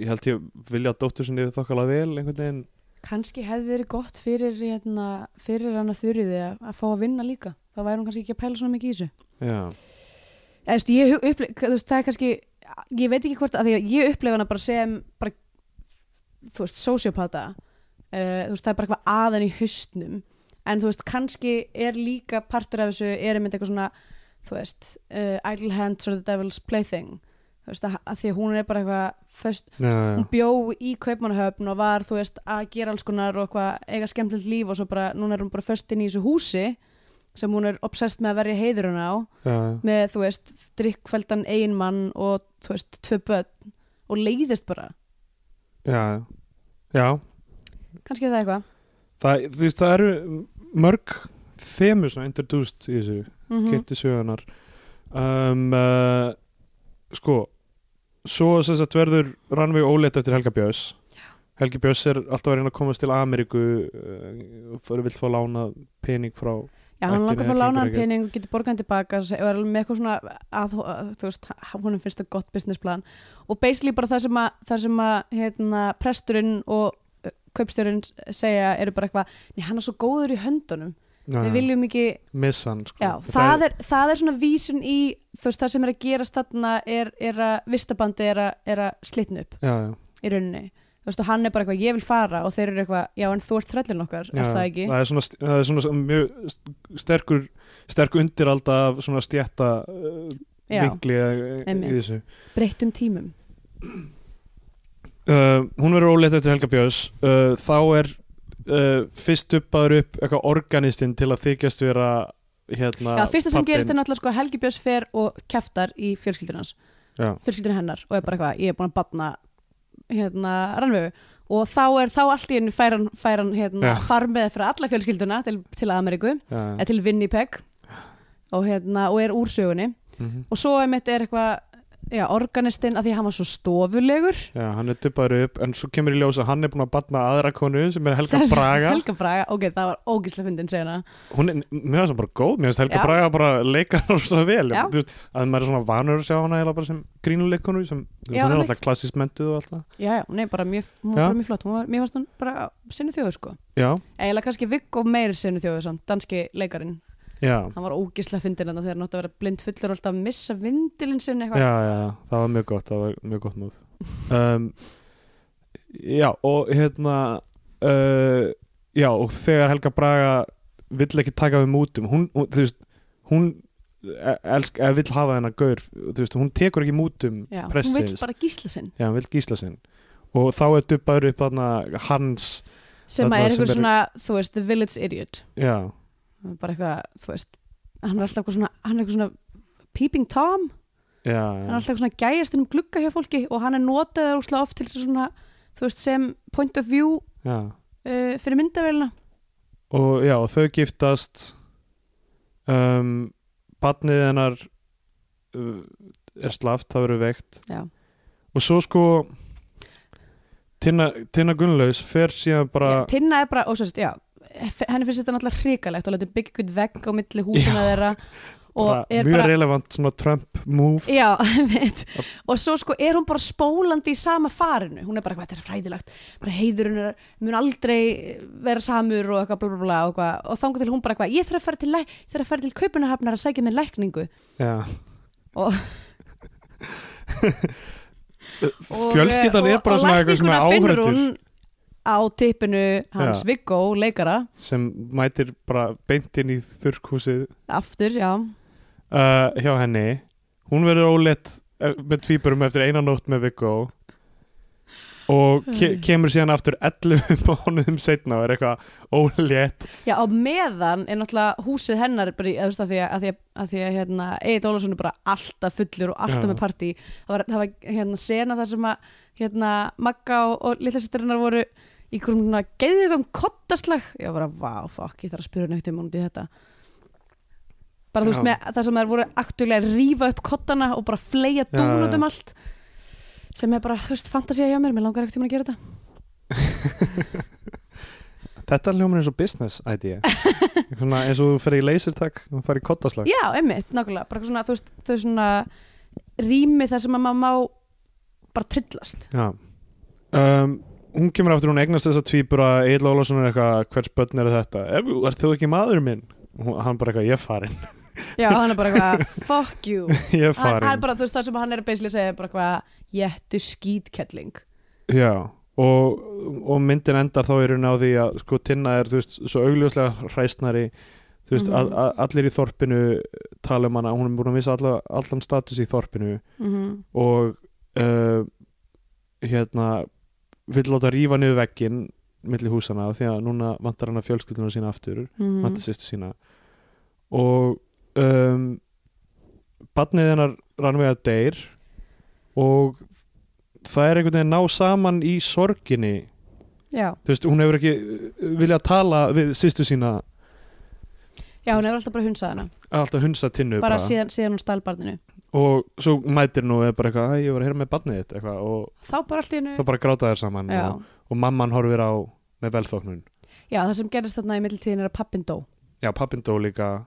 S3: ég held ég vilja að dóttur sinni þokkala vel einhvern veginn
S2: kannski hefði verið gott fyrir, hérna, fyrir hana þurriði að, að fá að vinna líka þá væri hún kannski ekki að pæla svona mikið í þessu
S3: já,
S2: Eða, þú veist, ég hug- upplif, þú veist, það er kannski ég veit ekki hvort, að því að ég upplifa hana bara sem bara, þú veist, sociopata uh, þú veist, það er bara eitthvað aðan í haustnum en þú veist, kannski er líka partur af þessu, er einmitt eitthvað svona þú veist, uh, idle hands or the devil's plaything þú veist, að, að því að hún er bara eitthvað föst,
S3: já, já.
S2: hún bjó í kaupmannahöfn og var, þú veist, að gera alls konar og eitthvað, eiga skemmtilegt líf og svo bara, núna er hún bara föst inn í þessu húsi sem hún er obsessed með að verja heiðurinn á
S3: já, já.
S2: með, þú veist, drikkveldan einmann og, þú veist, tvö börn og leiðist bara,
S3: Já, já. já
S2: kannski er það eitthvað
S3: það, þú veist, það eru mörg þemu svona introduced í þessu
S2: mm
S3: kynnti sögunar um, uh, sko svo sem sagt verður Rannveig óleitt eftir Helga Björns Helgi Björns er alltaf að reyna að komast til Ameríku uh, fyrir vilt fá lána pening frá
S2: Já, hann
S3: Ættinni
S2: langar fyrir
S3: gengur
S2: lánaðan
S3: ekki.
S2: pening og getur borgaðan tilbaka og er alveg með eitthvað svona að, að, þú veist, húnum finnst það gott businessplan og basically bara það sem að, það sem að hérna, presturinn og uh, kaupstjórinn segja eru bara eitthvað Nei, hann er svo góður í höndunum Við viljum ekki,
S3: uh, missan sko.
S2: já,
S3: Ah. Þetta
S2: það er, það er svona vísun í, þú veist, það sem er að gera stanna er, er að, vistabandi er að, er að slitna upp
S3: já, já,
S2: í rauninni þú veist og hann er bara eitthvað ég vil fara og þeir eru eitthvað já en þú ert þrællin okkar
S3: já,
S2: er það ekki
S3: það er svona, st- það er svona mjög st- sterkur sterk undiralda af svona stjætta uh,
S2: já,
S3: vinkli uh, í
S2: Einmitt.
S3: þessu
S2: breyttum tímum
S3: uh, hún verður óleitt eftir Helga Björns uh, þá er uh, fyrst uppaður upp eitthvað organistinn til að þykjast vera hérna
S2: já, fyrsta sem
S3: pabbinn.
S2: gerist er náttúrulega sko að Helgi Björns fer og keftar í fjölskyldunans
S3: já,
S2: fjölskyldunum hennar og er bara eitthvað ég er búin að batna hérna rannvegu og þá er þá allt í henni fær hann, fær hann hérna,
S3: Já.
S2: farmið fyrir alla fjölskylduna til, til Ameríku
S3: já,
S2: eða til Winnipeg og, hérna, og er úr sögunni
S3: mhm.
S2: og svo einmitt er eitthvað já, organistinn að því hann var svo stofulegur
S3: já, hann er duppaður upp en svo kemur í ljós að hann er búin að batna aðra konu sem er Helga
S2: Sem-
S3: Braga
S2: Helga Braga, ok, það var ógíslega fyndin segna
S3: hún er, mér finnst það bara góð, mér finnst Helga
S2: Já.
S3: Braga bara leikar hann svo vel
S2: Já.
S3: þú veist, að maður er svona vanur að sjá hana eiginlega bara sem grínuleikonu sem þú
S2: Já,
S3: veist, hún er
S2: einmitt.
S3: alltaf klassískt mentuð og alltaf
S2: Já, já, nei, bara mjög, hún
S3: Já.
S2: var bara mjög flott hún var, Mér fannst hún bara sinni þjóður sko
S3: já,
S2: Eða kannski Viggo meir sinni þjóður samt, danski leikarinn
S3: já,
S2: Hann var ógislega fyndin hann þegar hann átti að vera blind fullur og alltaf að missa vindilinn sinni
S3: já,
S2: eitthvað
S3: já, það var mjög gott það var mjög gott múf um, já og hérna uh, já og þegar Helga Braga vill ekki taka við mútum hún, hún þú veist, hún e- elsk, eða vill hafa hennar gaur þú veist, hún tekur ekki mútum
S2: Já, hún vill
S3: pressins,
S2: bara gísla sinn
S3: já, hún vill gísla sinn og þá er dubbaður upp þarna hans,
S2: sem að er
S3: Þarna sem
S2: eitthvað
S3: er-
S2: svona, þú veist, the village idiot
S3: já
S2: bara eitthvað, þú veist, hann er alltaf eitthvað svona, hann er eitthvað svona peeping tom, hann er
S3: já, já,
S2: alltaf eitthvað svona gæjast um glugga hjá fólki og hann er notaður úrslega oft til þess að svona, þú veist, sem point of view
S3: já.
S2: uh, fyrir myndavélina
S3: og já, og þau giftast um, barnið hennar uh, er slaft, það verður veikt
S2: Já.
S3: og svo sko Tina, Tina Gunnlaus fer síðan bara
S2: Já, Tinna er bara, og svo veist, já henni finnst þetta náttúrulega hrikalegt og letur byggja ykkur vegg á milli húsina þeirra og
S3: bara
S2: er
S3: mjög
S2: bara
S3: relevant svona Trump move
S2: Já, veit Og svo sko er hún bara spólandi í sama farinu Hún er bara, eitthvað, þetta er fræðilegt bara heiðurinn er, mun aldrei vera samur og eitthvað bla bla bla og, eitthvað. og þangur til hún bara eitthvað, ég þarf að fara til, læk- ég þarf að fara til kaupunahafnar að sækja mér lækningu
S3: Já.
S2: Og-
S3: fjölskyldan er bara svona eitthvað
S2: áhrættur
S3: svona
S2: Og eh, lækninguna finnur
S3: áhrættur
S2: hún á tippinu hans
S3: Já.
S2: Viggó, leikara
S3: sem mætir bara beint inn í þurrkúsið
S2: Aftur, já
S3: uh, hjá henni hún verður óleitt eh, með tvíburum eftir eina nótt með Viggo og ke kemur síðan aftur 11 mánuðum setna og er eitthvað ólétt
S2: Já, á meðan er náttúrulega húsið hennar bara, í- eða, þú veist, að því að, að, því að, að, því að hérna, Egil Ólafsson er bara alltaf fullur og alltaf
S3: Já.
S2: með partí það var, það var hérna, sena þar sem að hérna, Magga og, og litlasýttarinnar voru í grunna geðugum kottaslag ég var bara, vá, fuck, ég þarf að spyrja neitt um út í þetta bara þú veist
S3: Já.
S2: með það sem þær voru aktulega að rífa upp kottana og bara fleia
S3: Já,
S2: dún
S3: já.
S2: út um allt sem er bara, þú veist, fantasía hjá mér mér langar ekkert um að gera þetta
S3: þetta hljómar eins og business idea Eitthvað svona eins og þú fer í lasertag og fer í kottaslag
S2: Já, einmitt, nákvæmlega, bara eitthvað svona, þú veist, þau svona rými þar sem að maður má bara trillast.
S3: Já um, Hún kemur aftur, hún eignast þessa tvíbura Egil Ólafsson er eitthvað, hvers börn er þetta Ef, Er þú ekki maður minn? Hún, hann bara eitthvað, ég er farin
S2: Já, hann er bara eitthvað, fuck you.
S3: Ég er
S2: Hann,
S3: farin
S2: hann er bara, þú veist, það sem hann er að basically segja er bara eitthvað, jættu skítkelling.
S3: Já Og, og myndin endar þá í raun á því að sko Tinna er, þú veist, svo augljóslega hræstnari, þú veist,
S2: Mhm.
S3: mm allir í þorpinu tala um hana, hún er búin að missa alla, allan status í þorpinu
S2: Mm
S3: og uh, hérna vill láta rífa niður vegginn milli húsana af því að núna vantar hana fjölskylduna sína aftur
S2: -hmm.
S3: vantar sýstu sína og um, barnið hennar rannvega deyr og það er einhvern veginn að ná saman í sorginni
S2: Já.
S3: þú veist, hún hefur ekki uh, viljað tala við sýstu sína
S2: Já, hún hefur alltaf bara hunsað hana,
S3: alltaf hunsa tinnu
S2: bara síðan, síðan hún stálbarninu.
S3: og svo mætir nú og er bara eitthvað, "Æ, ég var að heyra með barnið þitt eitthvað og
S2: Þá bara allt í hennu.
S3: þá bara gráta þær saman
S2: Já.
S3: og, og mamman horfir á með velþóknun
S2: Já, það sem gerist þarna í mittiltíðin er að pappin dó.
S3: já, pappin dó líka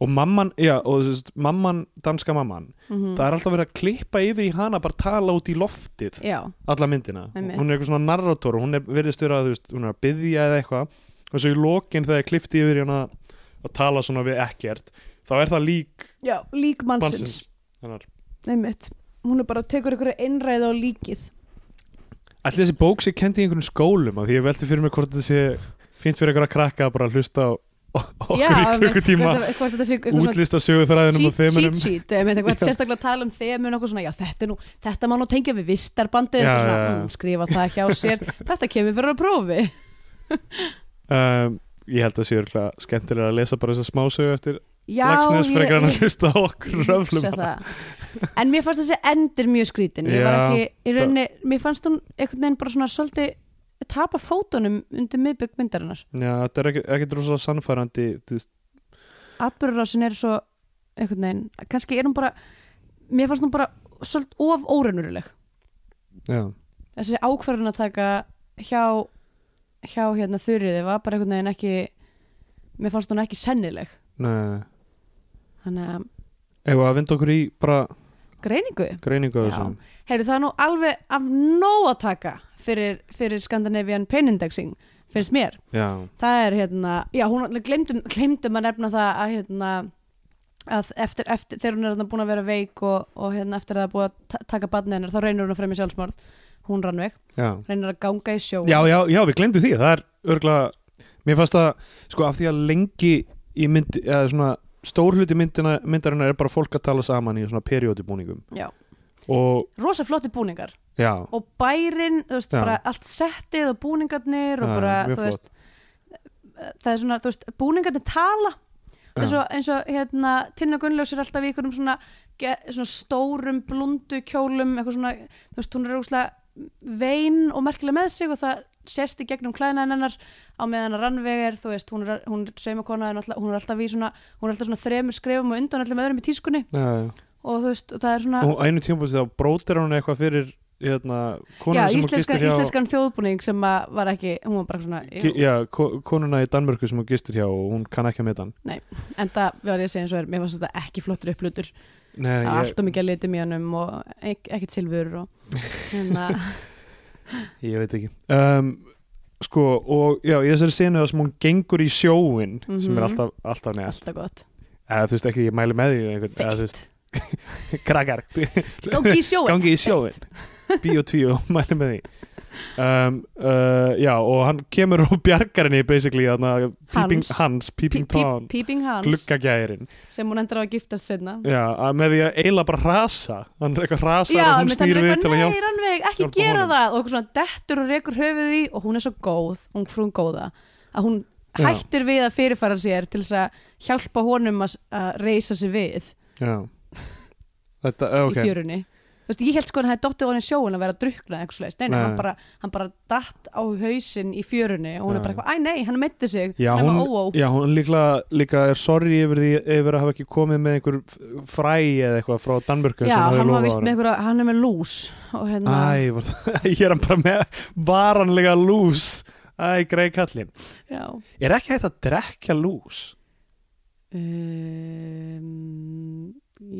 S3: og mamman, já, og þú veist, mamman danska mamman,
S2: Mm
S3: það er alltaf verið að klippa yfir í hana, bara tala út í loftið
S2: Já,
S3: alla myndina,
S2: Einmitt.
S3: hún er eitthvað svona narrator og hún er verðist vera, þú veist, hún er að byðja eða eitthvað, og svo í lokin þegar klipti yfir í hana að tala svona við ekkert þá er það lík
S2: Já lík mannsins.
S3: mannsins þannig
S2: Einmitt. Hún er bara, tekur ykkur einræð á líkið.
S3: Allir þessi bók sé kendi í einhverjum skólum af því ég velti fyrir mig hvort þetta sé fínt fyrir einhverja krakka að bara hlusta á okkur
S2: Já,
S3: í
S2: einmitt.
S3: klukkutíma
S2: Hvort- hvort þetta sé eitthvað svona
S3: útlista sögurþræðinum og
S2: cheat, cheat
S3: þemunum
S2: sheet, ég meint eitthvað sérstaklega að tala um þemun og eitthvað svona, já þetta er nú, þetta má nú tengja við vistarbandi,
S3: Já,
S2: eitthvað svona,
S3: já, já.
S2: mm, skrifa það hjá sér þetta kemur fyrir að prófi
S3: um, Ég held að sé örgulega skemmtilega að lesa bara þessa smásögu eftir
S2: já,
S3: Lagsnes frekar en að
S2: ég
S3: hlusta á okkur röflum
S2: hugsa það en mér fannst þessi endir mjög skrítin ég var
S3: Já,
S2: ekki, í rauninni, mér fannst hún einhvern veginn bara svona svolítið tapa fótunum undir miðbygg myndarinnar
S3: Já, þetta er ekkert ekki rosalega sannfærandi þú veist,
S2: atbyrðurásin er svo einhvern veginn, kannski er hún bara mér fannst hún bara svolítið of óreinuruleg
S3: Já,
S2: þessi ákvarðan að taka hjá, hjá hérna þurriði var bara einhvern veginn ekki mér fannst hún ekki sennileg
S3: nei, nei, nei
S2: þannig að
S3: Ef að vinda okkur í bara
S2: greiningu
S3: greiningu af
S2: Já.
S3: þessum
S2: heyri það er nú alveg af nóg að taka fyrir, fyrir Scandinavian Pain Indexing finnst mér,
S3: Já,
S2: það er hérna já hún glemdum, glemdum að nefna það að hérna að eftir, eftir, þegar hún er hérna búin að vera veik og, og hérna eftir að það er búið að ta- taka badni hennar þá reynir hún að fremja sjálfsmorð hún rann veg,
S3: já
S2: reynir að ganga í sjó
S3: Já, já, já, við glemdu því, það er örgulega Mér fannst það, sko, af því að lengi í mynd, eða svona stór hluti myndina, myndarina er bara fólk að tala saman í svona periódibúningum
S2: Já.
S3: Og,
S2: rosa flotti búningar
S3: já,
S2: og bærin, þú veist,
S3: Já.
S2: bara allt settið og búningarnir og
S3: Já,
S2: bara,
S3: mjög
S2: þú veist það er svona, þú veist, búningarnir tala eins og, eins og hérna, Tinna Gunnlaus er alltaf í einhverjum svona, ge- svona stórum blundu kjólum eitthvað svona, þú veist, hún er rúkslega vein og merkilega með sig og það sést í gegnum klæðina hennar á meðan að rannvegar, þú veist, hún er, hún er saumakona, en alltaf, hún er alltaf í svona hún er alltaf svona þremur skrefum og undan öllum öðrum í tískunni
S3: já, já.
S2: og þú veist, og það er svona
S3: og á einu tíma þá brótir hún eitthvað fyrir hérna, konuna
S2: já,
S3: sem hún
S2: íslenska,
S3: gistir hjá
S2: íslenskan þjóðbúning sem að var ekki, hún var bara svona
S3: Gi- já, ko- konuna í Danmörku sem hún gistir hjá og hún kann ekki að meta hann
S2: en það var ég að segja eins og er, mér fannst þetta ekki flottur upplutur
S3: Nei,
S2: ég...
S3: ég,
S2: allt og mikið að liti mjög hannum og ek ekkert silfur og hérna,
S3: ég veit ekki um, sko, og já, í þessari senu það sem hún gengur í sjóin sem er
S2: Mhm.
S3: alltaf, alltaf neð
S2: alltaf gott
S3: eða þú veist ekki, ég mæli með því einhvern, eða þú veist,
S2: feitt,
S3: krakkar
S2: gangi í sjóin
S3: gangi í sjóin bíó tvíó, mæli með því um, uh, já, og hann kemur og bjargar henni basically þarna, peeping,
S2: Hans.
S3: hans, peeping
S2: Pí-
S3: tom
S2: Peeping Hans,
S3: gluggagærin
S2: sem hún endur á að giftast senna
S3: já, að með því að eila bara rasa hann er eitthvað rasar
S2: Já,
S3: og hún
S2: einmitt, hann
S3: snýr
S2: er
S3: við til
S2: eitthvað,
S3: að
S2: nei,
S3: hjálpa
S2: Rannveig, ekki
S3: hjálpa
S2: gera
S3: honum."
S2: það og eitthvað svona dettur og rekur höfuð í og hún er svo góð, hún frún góða að hún
S3: Já.
S2: hættir við að fyrirfara sér til þess að hjálpa honum að, að reysa sig við
S3: já. þetta, eh, ok
S2: í fjörunni Þú veist, ég held sko að hann hefði dottið ofan í sjóun að vera að drukna eitthvað slags, nei, nei,
S3: Nei.
S2: Hann, bara, hann bara datt á hausinn í fjörunni og hún
S3: Já.
S2: er bara eitthvað, æ nei, hann meiti sig
S3: Já
S2: nema
S3: hún,
S2: óó,
S3: já, hún líklega, líka er sorry yfir, því, yfir að hafa ekki komið með einhver f- fræ eða eitthvað frá Danmörku
S2: já
S3: sem hafði
S2: hann var
S3: lofað
S2: vist
S3: honum.
S2: með eitthvað, hann er með lús og hérna,
S3: Æ, var það, ég er hann bara með varanlega lús Æ, grei kallinn
S2: já
S3: Er ekki hægt að drekja lús?
S2: um,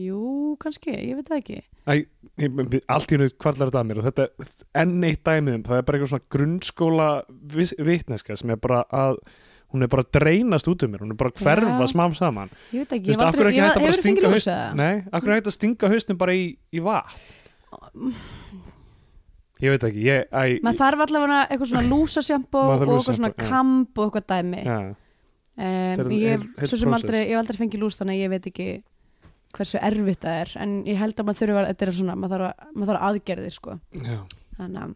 S2: jú, kannski, ég veit það ekki
S3: Æ, ég- ég- allt í hennu kvarlar þetta að mér og þetta er enn eitt dæmið um það er bara eitthvað svona grunnskóla vis- vitneska sem er bara að hún er bara að dreinast út um mér, hún er bara að hverfa
S2: Já.
S3: smám saman
S2: ég veit ekki, ég
S3: Þú veist,
S2: hef
S3: af hverju
S2: aldrei,
S3: ekki
S2: ég
S3: hægt
S2: hef
S3: að bara
S2: hefur
S3: stinga
S2: fengið
S3: haust
S2: lús eða?
S3: Nei, af hverju er hægt að stinga haustum bara í, í vatn Ég veit ekki, ég, æ
S2: maður þarf allavega eitthvað svona lúsasjampó og
S3: Maður þarf
S2: eitthvað svona
S3: lúsansjampó, já.
S2: kamp og eitthvað dæmi
S3: já,
S2: um,
S3: er
S2: ég, hef,
S3: heil- heil
S2: svo sem
S3: process.
S2: aldrei, ég hef aldrei fengið lús þannig að ég veit ekki hversu erfitt það er en ég held að maður þurfa, þetta er svona maður þarf, að, maður þarf aðgerðir sko
S3: já.
S2: þannig að,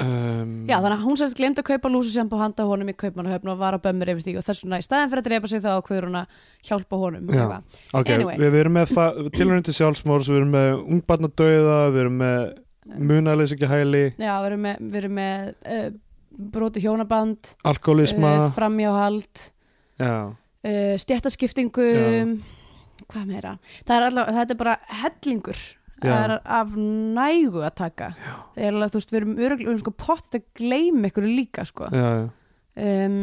S3: Um,
S2: já þannig að hún sérst glemt að kaupa lúsasjamp og handa honum í kaupmannahöfn og var að bömmur yfir því og þess vegna í staðin fyrir að drepa sig þá ákveður hún að hjálpa honum
S3: Já.
S2: eitthvað.
S3: Ok,
S2: Anyway.
S3: við, við erum með það, tilhörnum til sjálfsmórs, við erum með ungbarnadauða, við erum með munalins ekki hæli,
S2: já, við erum með, við erum með uh, broti hjónaband
S3: alkoholisma,
S2: uh, framjáhald
S3: já,
S2: uh, stjættaskiptingum hvað meira það er allavega, þetta er bara hellingur
S3: Já.
S2: það er af nægu að taka það er alveg, þú veist, við erum öruglega við erum sko pott að gleyma ykkur líka sko.
S3: já, já,
S2: um,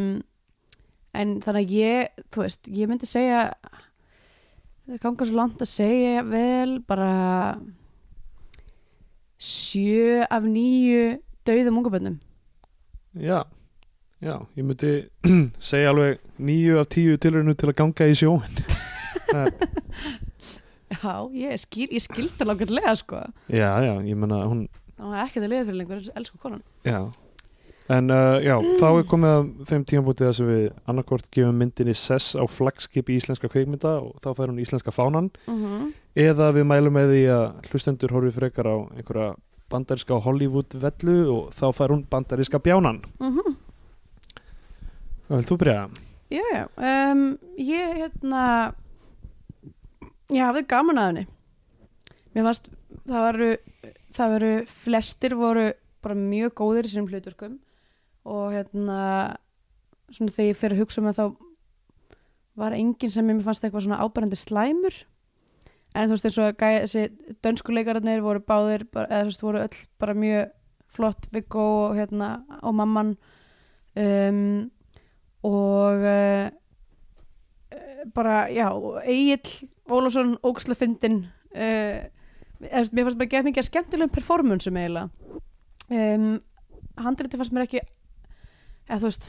S2: en þannig að ég þú veist, ég myndi segja það er ganga svo langt að segja vel bara sjö af nýju dauðum ungaböndum
S3: já, já, ég myndi segja alveg nýju af tíu tilhörnum til að ganga í sjóin.
S2: já, ég skil, ég skildi langarlega sko,
S3: Já, já, ég menna, hún,
S2: það var ekki að liða fyrir lengur elsku konan
S3: já, en uh, já, þá er komið að þeim tímabútið þess að við annarkort gefum myndinni sess á flagskipi íslenska kveikmynda og þá fær hún íslenska fánan.
S2: mm
S3: eða við mælum með því að hlustendur horfi frekar á einhverja bandaríska Hollywood vellu og þá fær hún bandaríska bjánan Vil þú byrja?
S2: Já, já, um, ég hérna ég hafði gaman að henni mér fannst það veru, það veru flestir voru bara mjög góðir í sínum hlutverkum og hérna svona þegar ég fer að hugsa um það þá var enginn sem mér fannst eitthvað svona ábærandi slæmur en þú veist eins og að gæja þessi dönskuleikararnir voru báðir bara, eða þú veist voru öll bara mjög flott Viggo og hérna og mamman um, og uh, bara, já, Egil Ólafsson, ógsla fyndin uh, eða, mér fannst bara gett mikið af skemmtilegum performansum eiginlega um, handriti fannst mér ekki eða þú veist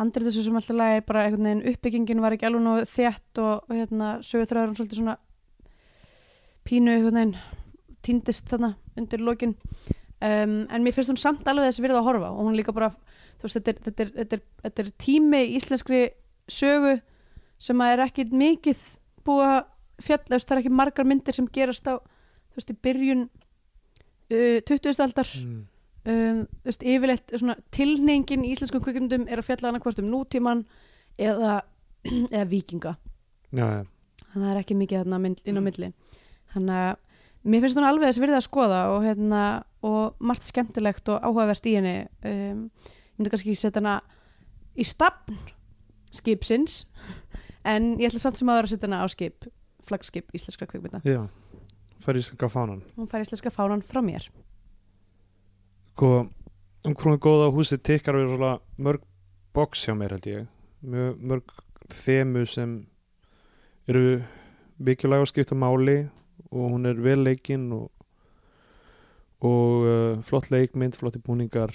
S2: handriti svo sem alltaf lagi bara einhvern veginn uppbyggingin var ekki alveg nú þétt og, og hérna sögurþröður hún svolítið svona pínu einhvern veginn týndist þarna undir lokin um, en mér finnst hún samt alveg þessi virða að horfa og hún líka bara þú veist, þetta er, þetta er, þetta er, þetta er tími í íslenskri sögu sem að er ekki mikið búa fjall, þú veist, það er ekki margar myndir sem gerast á, þú veist, í byrjun uh, 20. aldar
S3: Mm.
S2: um, þú veist, yfirleitt svona tilneyingin í íslenskum kvikmyndum er að fjalla annað hvort um nútíman eða eða vikinga
S3: já, já,
S2: þannig að það er ekki mikið þarna mynd- inn á milli þannig að mér finnst hún alveg þess virði að skoða og, hérna, og margt skemmtilegt og áhugavert í henni um, ég myndi kannski ekki setja hana í stafn skipsins en ég ætla samt sem aður að setja hana á skip flaggskip íslenskra kvikmynda
S3: já fær íslenska fánan
S2: hún fær íslenska fánan frá mér
S3: Sko, umkvæmlega góða húsið tikkar við svona mörg box hjá mér held ég mjög mörg þemu sem eru mikilvæg að skipta máli og hún er vel leikinn og, og uh, flott leikmynd, flotti búningar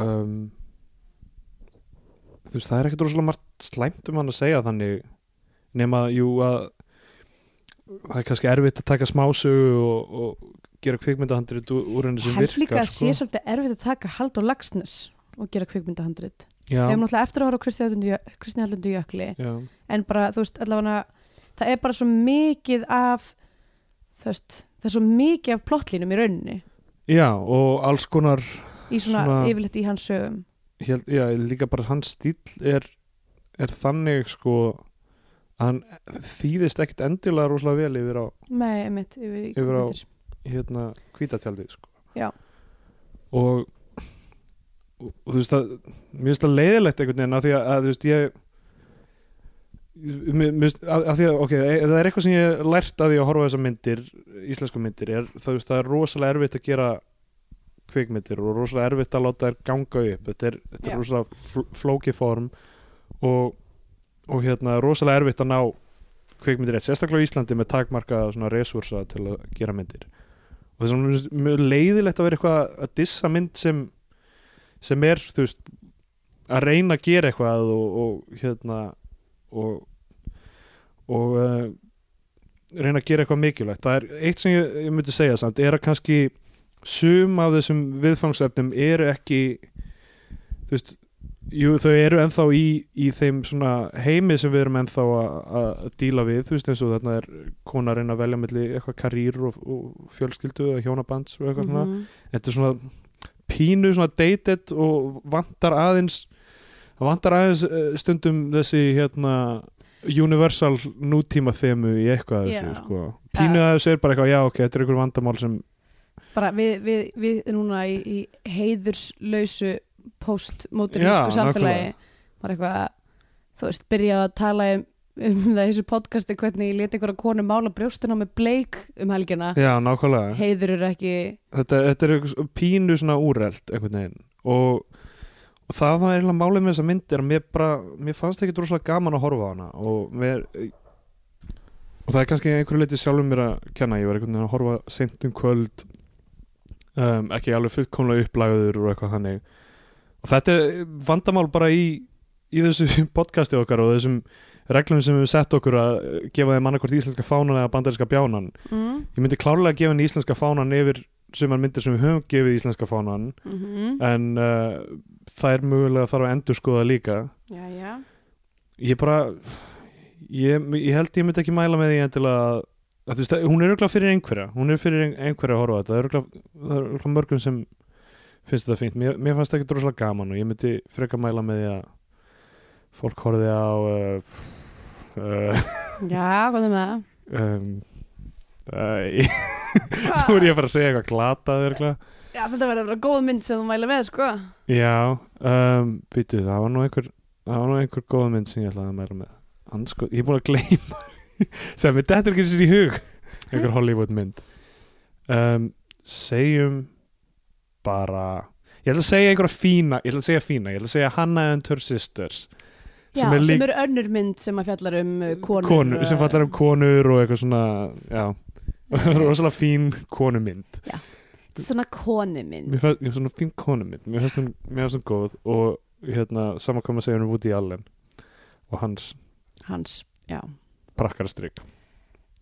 S3: um, þú veist, það er ekkert rosalega margt slæmt um hann að segja þannig nema, jú, að það er kannski erfitt að taka smásögu og, og gera kvikmyndahandrið úr henni sem
S2: held
S3: virkar
S2: líka að
S3: sko.
S2: sé svolítið erfitt að taka hald og lagsnes og gera kvikmyndahandrit
S3: Já,
S2: við hefum náttúrulega eftir að horfa á Kristi Hallundu Jökli
S3: já,
S2: en bara þú veist allavega það er bara svo mikið af þú veist það er svo mikið af plottlínum í rauninni
S3: já, og alls konar
S2: í svona,
S3: Svona-
S2: yfirleitt í hans sögum
S3: hér, já, líka bara hans stíl er, er þannig sko að hann þýðist ekkit endilega rosalega vel yfir á
S2: með einmitt yfir, í
S3: Yfir á-
S2: kvikmyndir.
S3: hérna kvítatjaldið sko
S2: Já.
S3: og, og, og þú veist að mér finnst það leiðilegt einhvern veginn af því að, að þú veist ég mér- mér finnst- af af því að, ok, e, ef það er eitthvað sem ég hef lært að því að horfa á þessar myndir íslensku myndir, er, það, veist, það er rosalega erfitt að gera kvikmyndir og rosalega erfitt að láta þær ganga upp þetta er, þetta
S2: Já.
S3: er rosalega fl flóki form og, og hérna rosalega erfitt að ná kvikmyndir rétt, sérstaklega á Íslandi með takmarka svona resursa til að gera myndir og þess að mér finnst mjög leiðilegt að vera eitthvað að dissa mynd sem sem er, þú veist að reyna að gera eitthvað og, og hérna og og uh, reyna að gera eitthvað mikilvægt það er eitt sem ég, ég myndi segja samt er að kannski sum af þessum viðfangsefnum eru ekki þú veist jú, þau eru ennþá í, í þeim svona heimi sem við erum ennþá að, að díla við, þú veist eins og þarna er kona að reyna að velja milli eitthvað karýr og, og fjölskyldu eða hjónabands og eitthvað svona
S2: Mhm.
S3: þetta er svona pínu svona dated og vantar aðeins vantar aðeins eh, stundum þessi hérna universal nútíma þemu í eitthvað af þessu,
S2: Já.
S3: sko. pínu að þessu er bara eitthvað já ok, þetta er einhver vandamál sem
S2: bara við, við, við núna í, í heiðurslausu
S3: Já,
S2: postmodernísku samfélagi
S3: nákvæmlega.
S2: var eitthvað þú veist, byrjaði að tala um, um það í þessu podcasti hvernig ég leti einhverja konu mála brjóstina með bleik um helgina
S3: já, nákvæmlega
S2: heiður eru ekki
S3: þetta, þetta er eitthvað svo- pínu svona úrelt einhvern veginn og, og það var eiginlega málið með þessa myndir mér, bara, mér fannst ekki droslega gaman að horfa á hana og mér og það er kannski einhverju leiti sjálfum mér að kenna ég var einhvern veginn að horfa seint um kvöld um, ekki alveg fullkomlega upplagður og eitthvað þannig og þetta er vandamál bara í í þessu podcasti okkar og þessum reglum sem við höfum sett okkur að eh, gefa þeim annarkvort íslenska fánan eða bandarinska bjánan
S2: mm.
S3: ég myndi klárlega að gefa henni íslenska fánan yfir sumar myndir sem við höfum gefið íslenska fánan
S2: Mm
S3: en uh, það er mögulega þarf að endur skoða líka
S2: já, já.
S3: ég bara ég, ég held ég myndi ekki mæla með því endilega að, að þú veist, hún er örugglega fyrir einhverja hún er fyrir ein- einhverja að horfa á þetta það er örugglega- það er örugglega mörgum sem finnst þetta fínt, mér, mér fannst það ekki droslega gaman og ég myndi frekar mæla með því að fólk horfið á uh, uh,
S2: Já, hvað er með það?
S3: um, uh, nú er ég að fara að segja eitthvað glatað örgla
S2: Já, þetta verður að vera góð mynd sem þú mæla með, sko.
S3: Já, um, býtu, það var nú einhver það var nú einhver góð mynd sem ég ætlaði að mæla með Ansko, ég er búin að gleyma sem við dettur ekki sér í hug einhver Hollywood mynd um, segjum bara ég ætla að segja einhverja fína ég ætla að segja fína, ég ætla að segja Hannah and her sisters
S2: Já,
S3: Sem
S2: sem,
S3: er lík-
S2: eru önnur mynd sem að fjallar um uh, konur.
S3: Konur, sem
S2: uh,
S3: fallar um konur og eitthvað svona já, rosalega fín konumynd
S2: Svona konumynd.
S3: mér fannst svona fín konumynd mér fannst hún, mér fannst hún góð og hérna, saman kom að segja hún Woody Allen og hans
S2: Hans, já.
S3: prakkarastrygg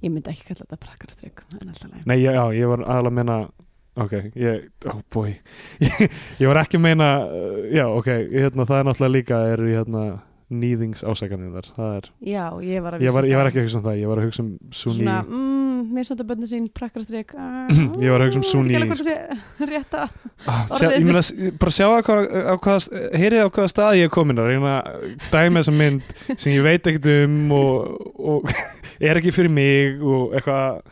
S2: Ég myndi ekki kalla þetta prakkarstrykk, en alltaf leið.
S3: Nei, já, já, ég var aðalega að meina Ok, ég, oh boy Ég, ég var ekki að meina uh, Já, ok, hérna, það er náttúrulega líka er, hérna, nýðings ásakanir þar Það er,
S2: Já, ég var að
S3: ég var,
S2: vísa
S3: ég var
S2: það.
S3: ekki að hugsa um það Ég var að hugsa um Sunni
S2: Svona, mm, misönda bönni sín prakkarastrik Ah,
S3: Ég var að hugsa um Sunny.
S2: Ég var að hugsa rétta
S3: Ah,
S2: Orðið.
S3: sjá, ég meina, s- bara sjá á hvað, á hvað, heyrið á hvaða stað ég er komin að reyna að dæma þessa mynd sem ég veit ekkert um og, og er ekki fyrir mig og eitthvað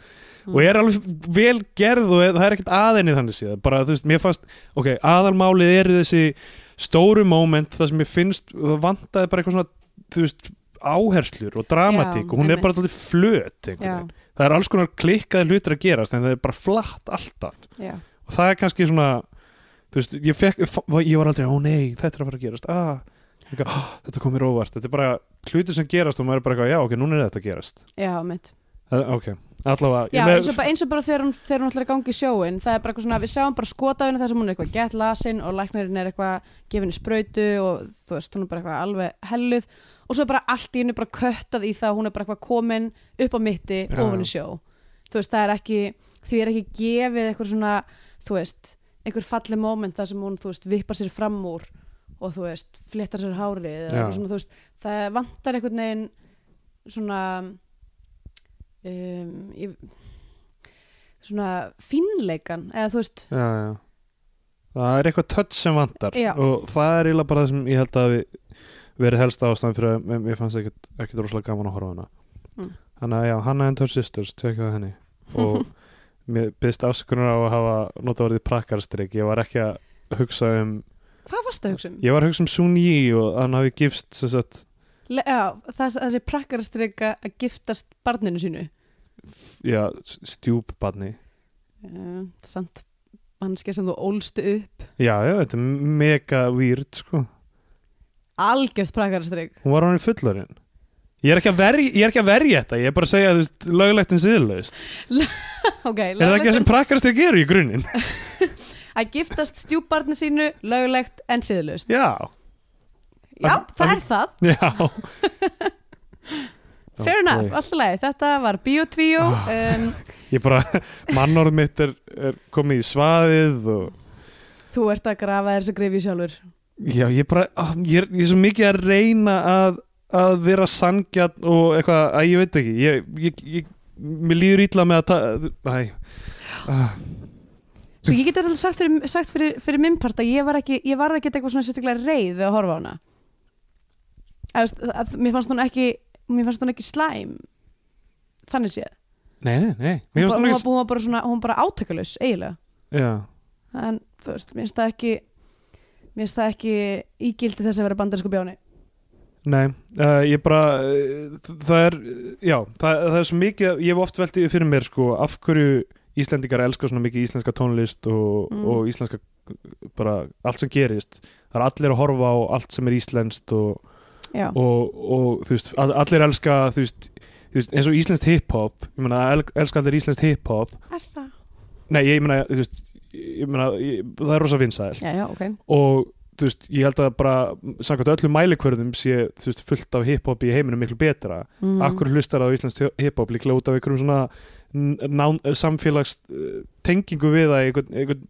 S3: og er alveg vel gerð og það er ekkert aðeinni þannig séð bara þú veist, mér fannst, ok, aðalmálið er þessi stóru moment það sem mér finnst, það vantaði bara eitthvað svona þú veist, áherslur og dramatík
S2: Já,
S3: og hún er
S2: einmitt.
S3: bara alltaf flöt einhvern
S2: Já,
S3: veginn. það er alls konar klikkaði hlutir að gerast en það er bara flatt alltaf
S2: já,
S3: og það er kannski svona þú veist, ég, fekk, ég var aldrei, ó nei, þetta er að fara að gerast ah, eitthvað, oh, þetta kom mér óvart þetta er bara hlutir sem gerast og maður er bara eitthvað, já, ok, núna er þetta að gerast
S2: já, mitt
S3: það, ok, allavega ég
S2: Já,
S3: með-
S2: eins og bara, eins og bara þegar, hún, þegar hún ætlar að gangi í sjóin það er bara eitthvað svona, við sjáum bara skotafinu þar sem hún er eitthvað gett lasin og læknirinn er eitthvað gefinu sprautu og þú veist, hún er bara eitthvað alveg helluð og svo er bara allt í henni bara köttað í það hún er bara eitthvað komin upp á mitti
S3: Já.
S2: ofan í sjó þú veist, það er ekki, því er ekki gefið eitthvað svona, þú veist einhver falli moment þar sem hún, þú veist, vippar sér fram úr og þú veist, fléttar sér hárið eða
S3: Já.
S2: eitthvað svona, þú veist, það vantar einhvern veginn svona um, ég, svona fínleikan eða þú veist,
S3: já, já. það er eitthvað touch sem vantar
S2: Já.
S3: og það er eiginlega bara það sem ég held að hafi verið helsta ástæðan fyrir að mér- mér fannst ekkit, ekkit rosalega gaman að horfa á hana
S2: Mm.
S3: þannig að já, Hanna and her sisters tekjaði henni og mér byrst afsökunar á að hafa nota orðið prakkarstrik, ég var ekki að hugsa um
S2: hvað varst það hugsa um?
S3: Ég var að hugsa um Sun Yi og hann hafi gifst sem sagt,
S2: Le, já, það, þessi prakkarastrika að giftast barninu sínu
S3: f- já, stjúpbarni
S2: uh, samt mannskja sem þú ólstu upp
S3: Já, já, þetta er mega weird sko.
S2: algjörst prakkarastrik
S3: Hún var hann í fullorinn Ég er ekki að verja, ég er ekki að verja þetta Ég er bara að segja, þú veist, löglegt en siðlaust
S2: okay,
S3: Er það ekki það sem
S2: löglegt
S3: prakkarstir gerur í grunninn?
S2: en- að giftast stjúbarni sínu löglegt en siðlust
S3: já,
S2: já,
S3: En-
S2: það
S3: en-
S2: er það,
S3: já
S2: fair enough,
S3: Ok. Ah.
S2: alltaf leið þetta var biotvíó um,
S3: Ég bara, mannorð mitt er, er komið í svaðið og
S2: þú ert að grafa þér þessu grefi sjálfur
S3: Já, ég bara, á, ég er, ég er svo mikið að reyna að, að vera sangjarn og eitthvað, að ég veit ekki, ég, ég, ég mér líður ítla með að ta, æ, ah,
S2: Svo Sko, ég get alveg sagt fyrir, sagt fyrir, fyrir minn part að ég var ekki, ég varð ekki eitthvað svona sérstaklega reið við að horfa á hana að, þú veist, að, mér fannst hún ekki mér fannst hún ekki slæm þannig séð
S3: nei, nei, nei, mér
S2: hún, hún,
S3: finnst hún
S2: var,
S3: ekki,
S2: hún var bara svona, hún var bara átökulegs eiginlega,
S3: já,
S2: en þú veist, mér finnst það ekki mér finnst það ekki ígildi þess að vera bandarsku bjáni
S3: nei, uh, ég bara, uh, það er, já, það, það er svo mikið, að- ég hef oft veltið fyrir mér, sko, af hverju Íslendingar elska svona mikið íslenska tónlist og,
S2: Mm.
S3: og íslenska, bara, allt sem gerist, það er allir að horfa á allt sem er íslenskt og
S2: já,
S3: og, og þú veist, all- allir elska þú veist, þú veist, eins og íslenskt hiphop ég meina, el, elska allir íslenskt hiphop
S2: er það?
S3: nei, ég meina, þú veist ég meina, ég, það er rosa vinsæl
S2: já, já, ok,
S3: og þú veist, ég held að bara samkvæmt öllum mælikvörðum sé þú veist, fullt af hiphop í heiminum miklu betra
S2: mm.
S3: akkur hlustar það á íslenskt hiphop líklega út af einhverjum svona n- nán, samfélags eh, tengingu við það einhvern, einhvern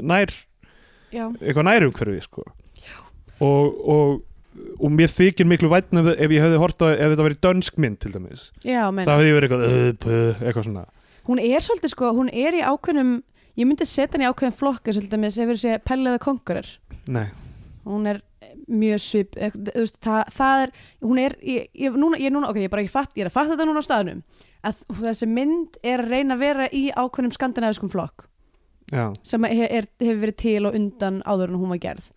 S3: nær
S2: já,
S3: eitthvað nærum hverfi sko. og, og, og mér þykir miklu vætn ef, ef ég hefði hort að ef þetta verið dönsk mynd til dæmis
S2: já, menn
S3: það hefði ég verið eitthvað, uh, puh, eitthvað svona
S2: hún er svolítið sko, hún er í ákveðnum ég myndi setja hann í ákveðin flokka svolítið með þess að vera sér pelliða konkurir
S3: nei,
S2: hún er mjög svip eh, þú veist, það, það er, hún er ég, ég, núna, ég, núna, ok, ég, bara, ég, fatt, ég er að fatta þetta núna á staðnum að þessi mynd er að reyna að vera í ákveðnum skandinaviskum flokk
S3: já,
S2: sem að he- er, hefur verið til og undan áður en hún var gerð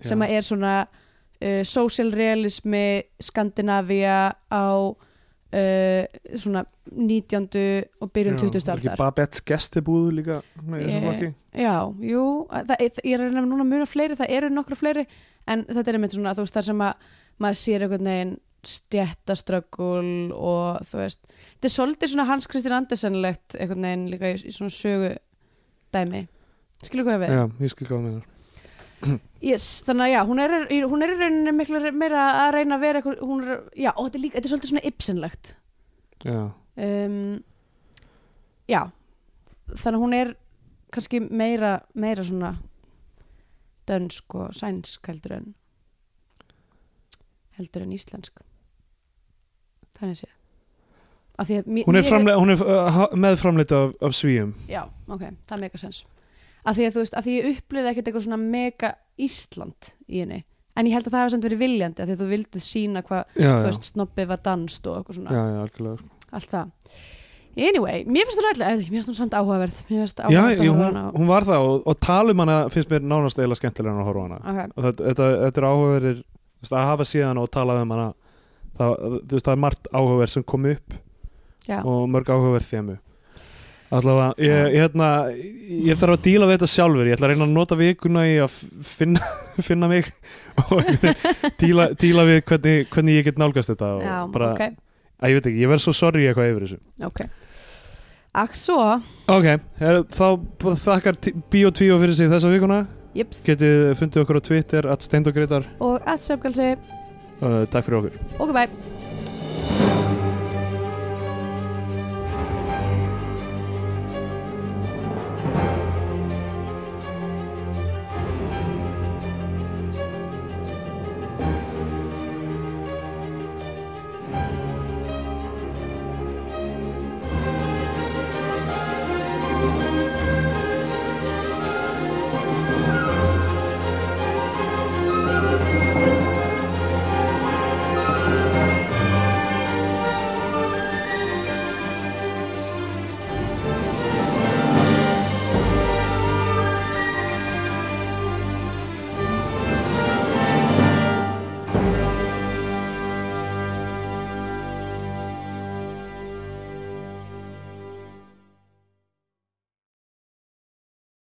S2: sem að er svona uh, social realismi Skandinavía á uh, svona 19. og byrjun 20. um aldar
S3: ekki Babettes gestibúðu líka nei,
S2: Ég-
S3: yeah.
S2: Já, jú, að það, ég- ég er að nefna núna mjög fleiri, það eru nokkra fleiri en þetta er einmitt svona, þú veist, þar sem að maður sér einhvern veginn stjættaströggul og þú veist þetta er svolítið svona Hans Kristján Andersenlegt einhvern veginn líka í, í svona sögu dæmi, skilur hvað ég við
S3: já, ég skil hvað það meinar
S2: yes, þannig að já, hún er, í- hún er í rauninni miklu meira að reyna að vera eitthvað, hún er, já, og þetta er líka, þetta er svolítið svona Ibsenlegt
S3: já,
S2: um, já þannig að hún er kannski meira, meira svona dönsk og sænsk heldur en heldur en íslensk þannig sé Af því að mér-
S3: Hún er,
S2: mér-
S3: framle- hún er uh, ha- meðframleitt af, af svíum
S2: Já, ok, það er mega sens Af því að þú veist, af því ég upplifði ekkert eitthvað svona mega Ísland í henni En ég held að það hafa samt verið viljandi af því að þú vildu sína hvað,
S3: Já,
S2: þú
S3: já,
S2: veist, snobbið var danst og eitthvað svona,
S3: já, já, algjörlega sko.
S2: allt það Anyway, mér finnst hún ætla, eða ekki, mér finnst hún samt áhugaverð Mér finnst
S3: Já,
S2: áhugaverð
S3: ég,
S2: að
S3: hún,
S2: horfa á hana
S3: hún var það og, og tala um hana finnst mér nánast eila skemmtilega en að horfa á hana
S2: Ok,
S3: og þetta, þetta, þetta er áhugaverir þú veist, að hafa síðan og talað um hana það, þú veist, það er margt áhugaverð sem kom upp
S2: já,
S3: og mörg áhugaverð þemu allavega, ég, ég, hérna, ég þarf að díla við þetta sjálfur, ég ætla að reyna að nota vikuna í að f- finna, finna mig og einhvern veginn díla, díla við hvernig, hvernig ég get nálgast þetta og
S2: já,
S3: bara,
S2: ok,
S3: að ég veit ekki, ég verð svo sorry eitthvað yfir þessu
S2: ok Akk svo,
S3: Ok, er, þá b- þakkar t- Bíó 2 fyrir sig þessa vikuna
S2: jips,
S3: Getið fundið okkur á Twitter at steindogreitar
S2: og að söfgalsi
S3: uh, Takk fyrir okkur
S2: Ok, bye